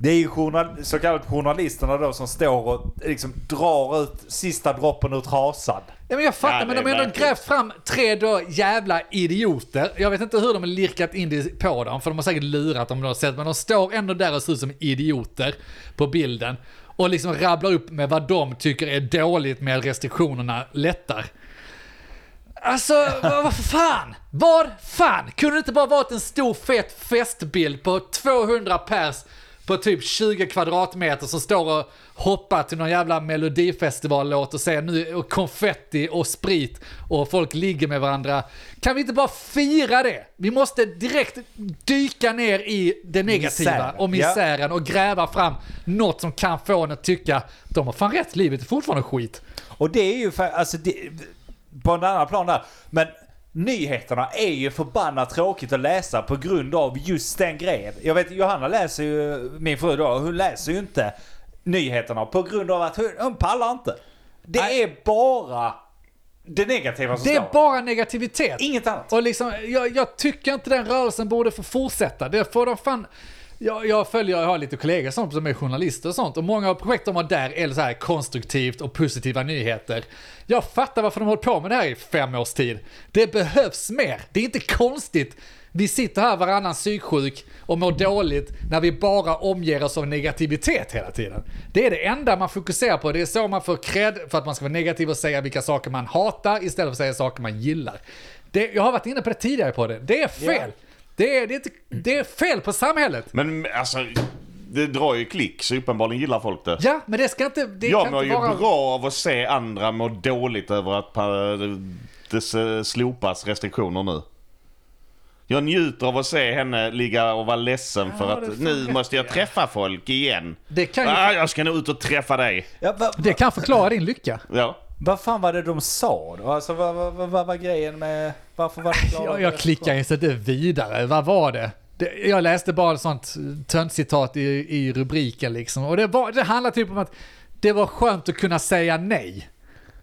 det är ju journal, så kallat journalisterna då som står och liksom drar ut sista droppen ur trasan.
Ja, men jag fattar,
Ja,
men
det
de
är
har ändå
märkligt.
grävt fram tre då jävla idioter. Jag vet inte hur de har lirkat in det på dem, för de har säkert lurat dem på något sätt. Men de står ändå där och ser ut som idioter på bilden. Och liksom rabblar upp med vad de tycker är dåligt med att restriktionerna lättar. Alltså, vad, vad fan? Vad fan? Kunde det inte bara varit en stor fet festbild på 200 pers på typ 20 kvadratmeter som står och hoppar till någon jävla melodifestivallåt och säger nu och konfetti och sprit och folk ligger med varandra. Kan vi inte bara fira det? Vi måste direkt dyka ner i det negativa
Misären,
och
ja.
misären och gräva fram något som kan få en att tycka de har fan rätt, livet är fortfarande skit.
Och det är ju fa- alltså det, på en annan plan där. Men nyheterna är ju förbannat tråkigt att läsa på grund av just den grejen. Jag vet Johanna läser ju, min fru då, hon läser ju inte nyheterna på grund av att hon, hon pallar inte. Det
Nej.
är bara det negativa som
Det är
står.
bara negativitet.
Inget annat.
Och liksom, jag, jag tycker inte den rörelsen borde få fortsätta. Det får de fan... Jag, jag följer, jag har lite kollegor och sånt som är journalister och sånt. Och många av projekt de har där är så här konstruktivt och positiva nyheter. Jag fattar varför de har hållit på med det här i fem års tid. Det behövs mer. Det är inte konstigt. Vi sitter här varannan psyksjuk och mår dåligt när vi bara omger oss av negativitet hela tiden. Det är det enda man fokuserar på. Det är så man får cred för att man ska vara negativ och säga vilka saker man hatar istället för att säga saker man gillar. Det, jag har varit inne på det tidigare på det. Det är fel. Det, är, det, är inte, det är fel på samhället.
Men alltså, det drar ju klick så uppenbarligen gillar folk det.
Ja, men det ska inte... Det
Jag
kan
mår
inte
ju
vara...
bra av att se andra må dåligt över att pa- det s- slopas restriktioner nu. Jag njuter av att se henne ligga och vara ledsen för
Ja, det är
att
fan
nu
rätt,
måste jag träffa folk igen.
Det kan ju-
ah, jag ska nog ut och träffa dig.
Ja, va,
Det kan förklara din lycka.
Ja.
vad fan var det de sa då? Alltså vad, vad, vad, vad var grejen med... Varför var det klara-
Jag, jag klickar inte det vidare. Vad var det? det jag läste bara ett sånt töntcitat i, i rubriken liksom. Och det, var, det handlar typ om att det var skönt att kunna säga nej.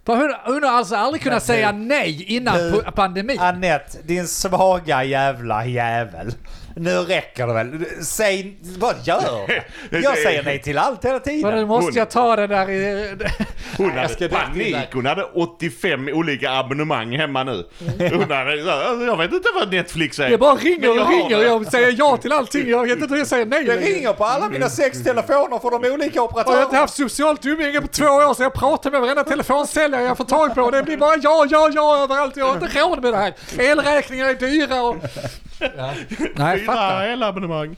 För hon, hon har alltså aldrig kunnat säga nej innan
nu-
pa- pandemin.
Annette, din svaga jävla jävel. Nu räcker det väl? Säg, vad gör du? Jag säger nej till allt hela
Vadå,
tiden.
måste
hon-
jag ta det där i...
Hon
jag ska
hade
direkt in
panik.
där.
Hon hade 85 olika abonnemang hemma nu. Hon hade, alltså, jag vet inte vad Netflix är.
Mm. Jag bara
Men
ringer och
har
ringer och
det.
jag säger ja till allting. Jag vet inte hur jag säger nej
Det
längre.
ringer på alla mina sex telefoner från de olika
Och jag har inte
operatörerna.
haft socialt umgänge på två år så jag pratar med varenda telefonsäljare jag får tag på. Det blir bara ja, ja, ja överallt. Jag har inte råd med det här. Elräkningar är dyra och... Nej,
Fyra
fattar.
elabonnemang.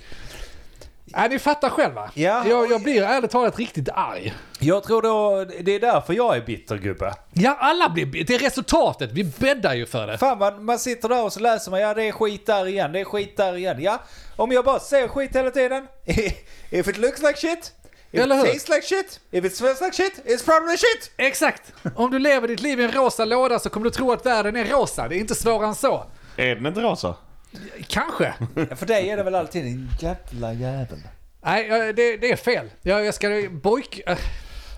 Nej, ni fattar själva.
Ja.
Jag, jag blir ärligt talat riktigt arg.
Jag tror då, det är därför jag är bitter gubbe.
Ja, alla blir... Det är resultatet. Vi bäddar ju för det.
Fan man, man sitter där och så läser man, ja det är skit där igen, det är skit där igen. Ja, om jag bara säger skit hela tiden. If it looks like shit. If
Eller hur?
it tastes like shit. If it smells like shit. It's probably shit.
Exakt! Om du lever ditt liv i en rosa låda så kommer du tro att världen är rosa. Det är inte svårare än så.
Är den inte rosa?
Kanske.
För dig är det väl alltid en jävla jävel.
Nej, jag- det, det är fel. Jag, jag ska bojk... äh,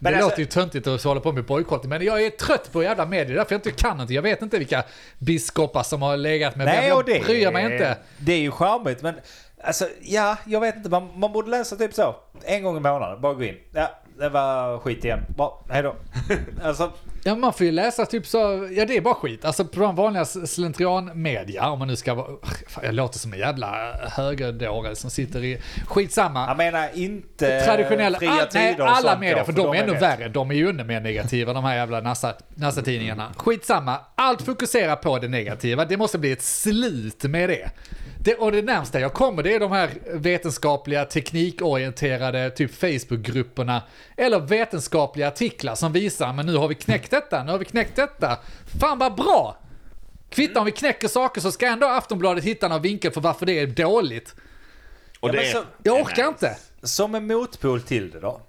Det
alltså-
låter ju töntigt att hålla på med bojkott, men jag är trött på jävla medier därför jag inte kan inte. Jag vet inte vilka biskopar som har legat med vem.
Nej, och
Jag
det,
bryr mig inte.
det är ju charmigt men alltså ja, jag vet inte. Man, man borde läsa typ så. En gång i månaden, bara gå in. Ja, det var skit igen. Bra, hejdå. alltså,
Ja, man får ju läsa typ så, ja det är bara skit. Alltså på de vanliga slentrianmedia, om man nu ska vara, fan, jag låter som en jävla högerdåre som sitter i, skitsamma.
jag menar inte
traditionella,
Eh, fria
all, nej,
tider och
alla
sånt
medier,
då,
för de är ännu
vet.
värre. De är ju ännu mer negativa, de här jävla nassa- NASA-tidningarna. Skitsamma, allt fokuserar på det negativa. Det måste bli ett slut med det. det. Och det närmsta jag kommer, det är de här vetenskapliga, teknikorienterade, typ Facebook-grupperna. Eller vetenskapliga artiklar som visar, men nu har vi knäckt detta, nu har vi knäckt detta. Fan vad bra! Kvittar om vi knäcker saker så ska ändå Aftonbladet hitta någon vinkel för varför det är dåligt.
Och
Ja,
det
men
är...
så-
Jag orkar inte.
Som en motpol till det då.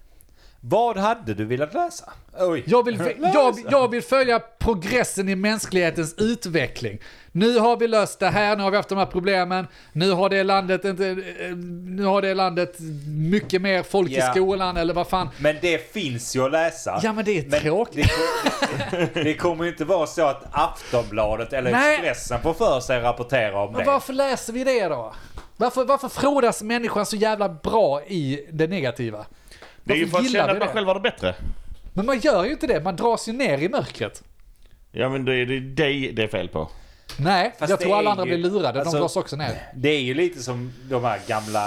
Vad hade du velat läsa? Oj.
Jag vill, jag, jag vill följa progressen i mänsklighetens utveckling. Nu har vi löst det här, nu har vi haft de här problemen, nu har det landet, inte, eh, nu har det landet mycket mer folk
Ja.
i skolan eller vad fan.
Men det finns ju att läsa.
Ja men det är
Men
tråkigt.
Det, det, det kommer ju inte vara så att Aftonbladet eller
Nej.
Expressen får för sig att rapportera om det.
Men varför läser vi det då? Varför, varför frodas människan så jävla bra i det negativa?
Det är ju
Varför
för att
gillar
känna
vi
att man
det?
själv har det bättre.
Men man gör ju inte det, man dras ju ner i mörkret.
Ja men då är det dig det är fel på.
Nej,
Fast
jag
det
tror alla
är
andra
ju-
blir lurade,
alltså-
de dras också ner.
Det är ju lite som de här gamla...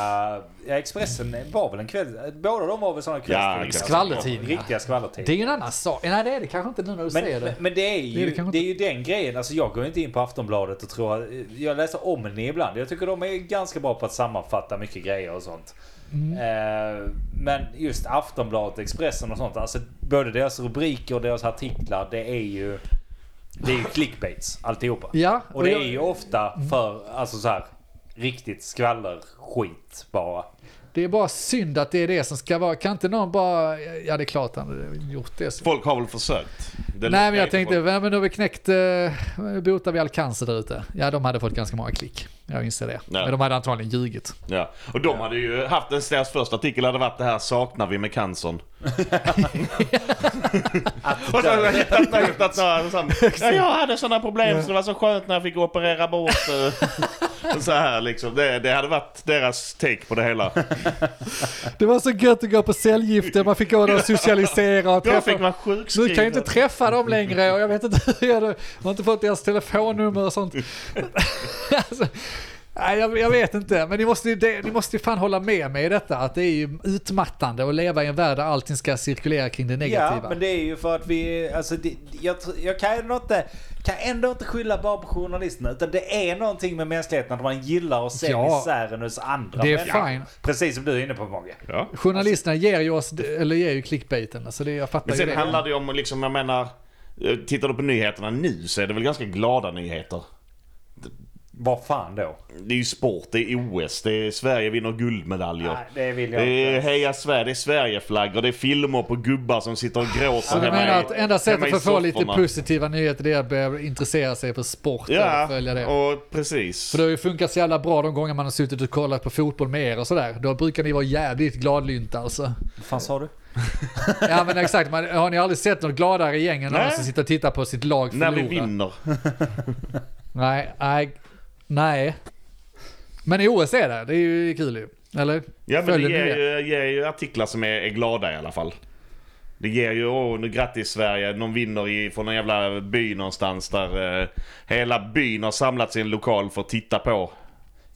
Ja, Expressen var väl en kväll... Båda de var väl sådana kvällstidningar. som-
skvallertidningar.
Riktiga skvallertidningar.
Det är ju en annan sak. Nej det är det kanske inte nu när du säger
Men, men,
det.
men det är
Det
ju,
är det
det är
kanske
ju den grejen. Alltså jag går ju inte in på Aftonbladet och tror att, Jag läser Omni ibland. Jag tycker de är ganska bra på att sammanfatta mycket grejer och sånt.
Mm.
Eh, men just Aftonbladet, Expressen och sånt. Alltså både deras rubriker och deras artiklar. Det är ju... Det är ju clickbaits alltihopa.
Ja,
och det
och jag-
är ju ofta för, alltså så här, riktigt skvallerskit bara.
Det är bara synd att det är det som ska vara. Kan inte någon bara... Ja, det är klart han hade gjort det.
Folk har väl försökt?
Nej, men
Det luktar
jag
ju
tänkte,
på-
ja, men nu har vi knäckt... Eh, botar vi all cancer där ute? Ja, de hade fått ganska många klick. Jag inser det.
Ja.
Men de hade antagligen ljugit.
Ja. Och de hade ju haft, en- deras första artikel hade varit det här saknar vi med cancern. Och så har jag hittat, jag har hittat några sån, ja, jag hade sådana problem så det var så skönt när jag fick operera bort. eh." Och så här liksom. Det, det hade varit deras take på det hela.
Det var så gött att gå på cellgifter, man fick gå där och socialisera och
Jag fick
träffa...
vara sjukskriven.
Nu kan jag inte träffa dem längre och jag vet inte hur jag... Jag har inte fått deras telefonnummer och sånt. alltså, nej, jag, jag vet inte, men ni måste, ju- det, ni måste ju fan hålla med mig i detta. Att det är ju utmattande att leva i en värld där allting ska cirkulera kring det negativa.
Ja, men det är ju för att vi... Alltså, det, jag, tr- jag kan ändå, inte, kan ändå inte skylla bara på journalisterna. Utan det är någonting med mänskligheten att man gillar att se
Ja.
misären hos andra
Det är
människor.
fine.
Precis som du är inne på Mogge.
Ja.
Journalisterna ger ju oss, eller ger ju clickbaiten. Alltså det, jag fattar
Men
ju
sen
det.
handlar det ju om, liksom, jag menar, eh, tittar du på nyheterna nu så är det väl ganska glada nyheter.
Vad fan då?
Det är ju sport, det är OS, det är Sverige vinner guldmedaljer.
Nej, det vill jag
Det är
inte.
heja Sverige, det är Sverigeflaggor, det är filmer på gubbar som sitter och gråter
Så du
hemma
menar
i-
att enda
hemma i
sättet för att få lite
sofforna.
positiva nyheter det är att börja intressera sig för sport och följa det.
Ja, och precis.
För det har ju funkat så jävla bra de gånger man har suttit och kollat på fotboll med er och sådär. Då brukar ni vara jävligt gladlynta alltså.
Vad fan sa du?
Ja men exakt, man, har ni aldrig sett något gladare gäng än någon
Nej.
som sitter och tittar på sitt lag
När
förlora?
vi vinner.
Nej, nej, nej. Men i OS är det, det är ju kul ju. Eller?
Ja men det
Följer ni
ger ju, ger ju artiklar som är, är glada i alla fall. Det ger ju, åh nu grattis Sverige, någon vinner i, från någon jävla by någonstans där eh, hela byn har samlats i en lokal för att titta på.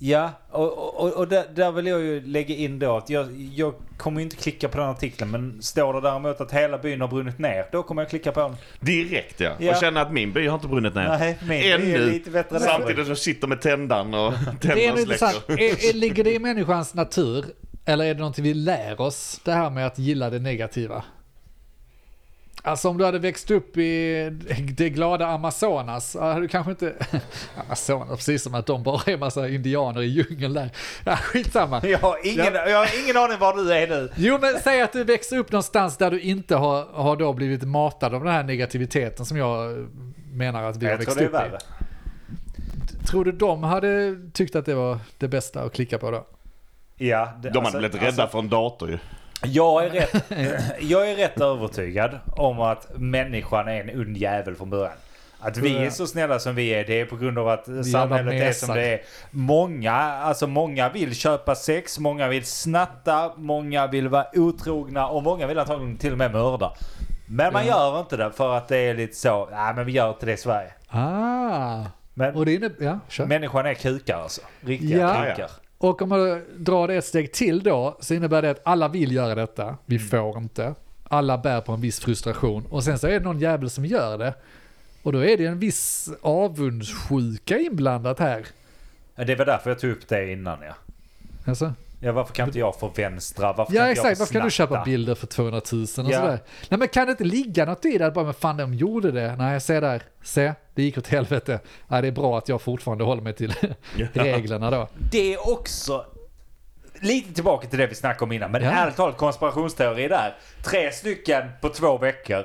Ja, och, och, och där, där vill jag ju lägga in då att jag, jag kommer ju inte klicka på den artikeln. Men står det däremot att hela byn har brunnit ner, då kommer jag klicka på den.
Direkt ja.
Ja.
Och känna att min by har inte brunnit ner.
Nej, min by är
Ännu.
lite bättre än
Samtidigt som jag sitter med tändaren och
Det är
tändaren
nog
släcker.
intressant. Är, är, ligger det i människans natur? Eller är det någonting vi lär oss? Det här med att gilla det negativa. Alltså om du hade växt upp i det glada Amazonas, ja, hade du kanske inte... Amazonas, precis som att de bara är en massa indianer i djungeln där. Ja, skitsamma.
Jag har ingen, jag har ingen aning var du är nu.
Jo men säg att du växer upp någonstans där du inte har, har då blivit matad av den här negativiteten som jag menar att vi har
Jag tror
växt
det är
upp
värre.
i. Tror du de hade tyckt att det var det bästa att klicka på då?
Ja, det-
De hade
alltså-
blivit rädda
alltså-
för en dator ju.
Jag är, rätt, jag är rätt övertygad om att människan är en ond jävel från början. Att vi är så snälla som vi är, det är på grund av att samhället är
mesar.
som det är. Många, alltså många vill köpa sex, många vill snatta, många vill vara otrogna och många vill antagligen till och med mörda. Men man gör inte det för att det är lite så, nej men vi gör inte det i Sverige.
Ah,
Men
och det innebär... Ja, kör.
människan är kukar alltså. Riktiga
Ja.
kukar.
Och om man drar det ett steg till då, så innebär det att alla vill göra detta, vi
Mm.
får inte. Alla bär på en viss frustration och sen så är det någon jävel som gör det. Och då är det en viss avundsjuka inblandat här.
Det var därför jag tog upp det innan ja.
Alltså,
Ja varför kan inte jag få vänstra? Varför
ja
kan inte jag
exakt,
få
varför kan du köpa
snatta?
bilder för 200 000 och
Ja.
sådär? Nej men kan det inte ligga något i det att bara, men fan de gjorde det? Nej, se där, se, det gick åt helvete. Nej, det är bra att jag fortfarande håller mig till reglerna då.
Det är också... lite tillbaka till det vi snackade om innan, men
Ja.
ärligt talat konspirationsteori där. Tre stycken på två veckor.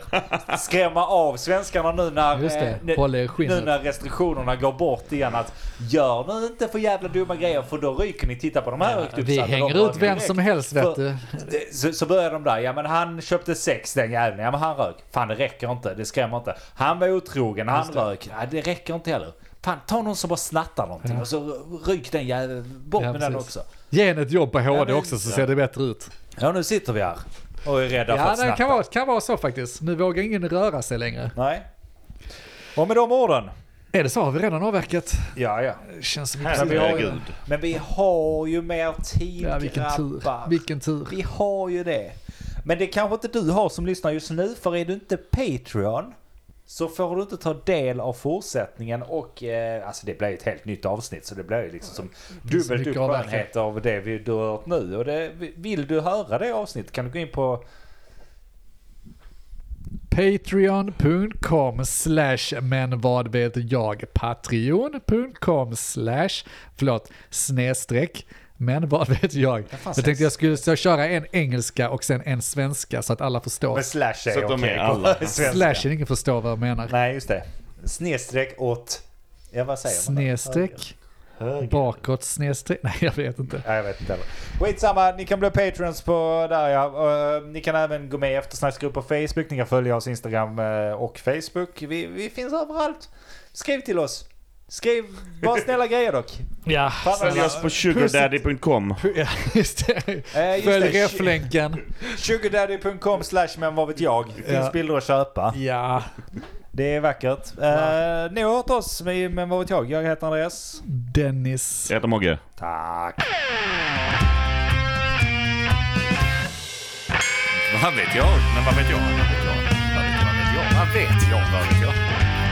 Skrämma av svenskarna nu när,
Just det.
eh, nu-
Håll er skinnet.
nu när restriktionerna går bort igen. Att gör nu inte för jävla dumma grejer för då ryker ni. Titta på de här högt
Vi
uppsatta, de
hänger
rök
ut vem
direkt.
som helst vet
För-
du.
det- Så, så börjar de där. Ja men han köpte sex den jäveln. Ja men han rök. Fan det räcker inte. Det skrämmer inte. Han var otrogen. Han rök. Ja, det räcker inte heller. Fan ta någon som bara snattar någonting och så ryk den jäveln. Bort
Ja,
med den
precis.
också.
Ge henne ett jobb på HD
men-
också så ser det bättre ut.
Ja nu sitter vi här. Och är rädda för
Ja,
att
det
snatta.
kan vara, kan vara så faktiskt. Nu vågar ingen röra sig längre.
Nej. Och med de orden.
Är det så? Har vi redan avverkat?
Ja ja.
Känns som
Men vi, har ju,
Alltså, Herregud.
men vi har ju mer tid
Ja, vilken tur.
grabbar.
Vilken tur.
Vi har ju det. Men det kanske inte du har som lyssnar just nu, för är du inte Patreon så får du inte ta del av fortsättningen och eh, alltså det blir ju ett helt nytt avsnitt så det blir ju liksom som
finns
dubbelt upp
mycket att avverka.
skönhet av det vi, du har hört nu. Och det, vill du höra det avsnittet kan du gå in på
Patreon.com slash men vad vet jag? Patreon.com slash, förlåt, snedstreck, men vad vet jag? Jag tänkte jag skulle så köra en engelska och sen en svenska så att alla förstår.
med slash
Så
är
att de
okej.
är alla.
Svenska.
Slashen, ingen förstår vad jag menar.
Nej just det. Snedstreck åt... Ja vad säger man?
Snedstreck, bakåt snedstreck, nej jag vet inte.
Ja, jag vet inte heller. Skitsamma, ni kan bli patrons på där ja. Och, eh, ni kan även gå med i eftersnacksgrupp på Facebook. Ni kan följa oss Instagram eh, och Facebook. Vi, vi finns överallt. Skriv till oss. Skriv bara snälla grejer dock.
Ja,
Följ oss på sugardaddy.com.
ja just det.
Eh, just
Följ
det.
reflänken.
Sugardaddy.com slash men vad vet jag. Det finns
Ja.
bilder att köpa.
Ja,
Det är vackert. Eh, Ni har hört oss med men vad vet jag. Jag heter Andreas.
Dennis.
Jag heter Mogge.
Tack.
Vad vet jag? Men vad vet jag? Vad vet jag? Vad vet jag? Vad vet jag? Men vad vet jag?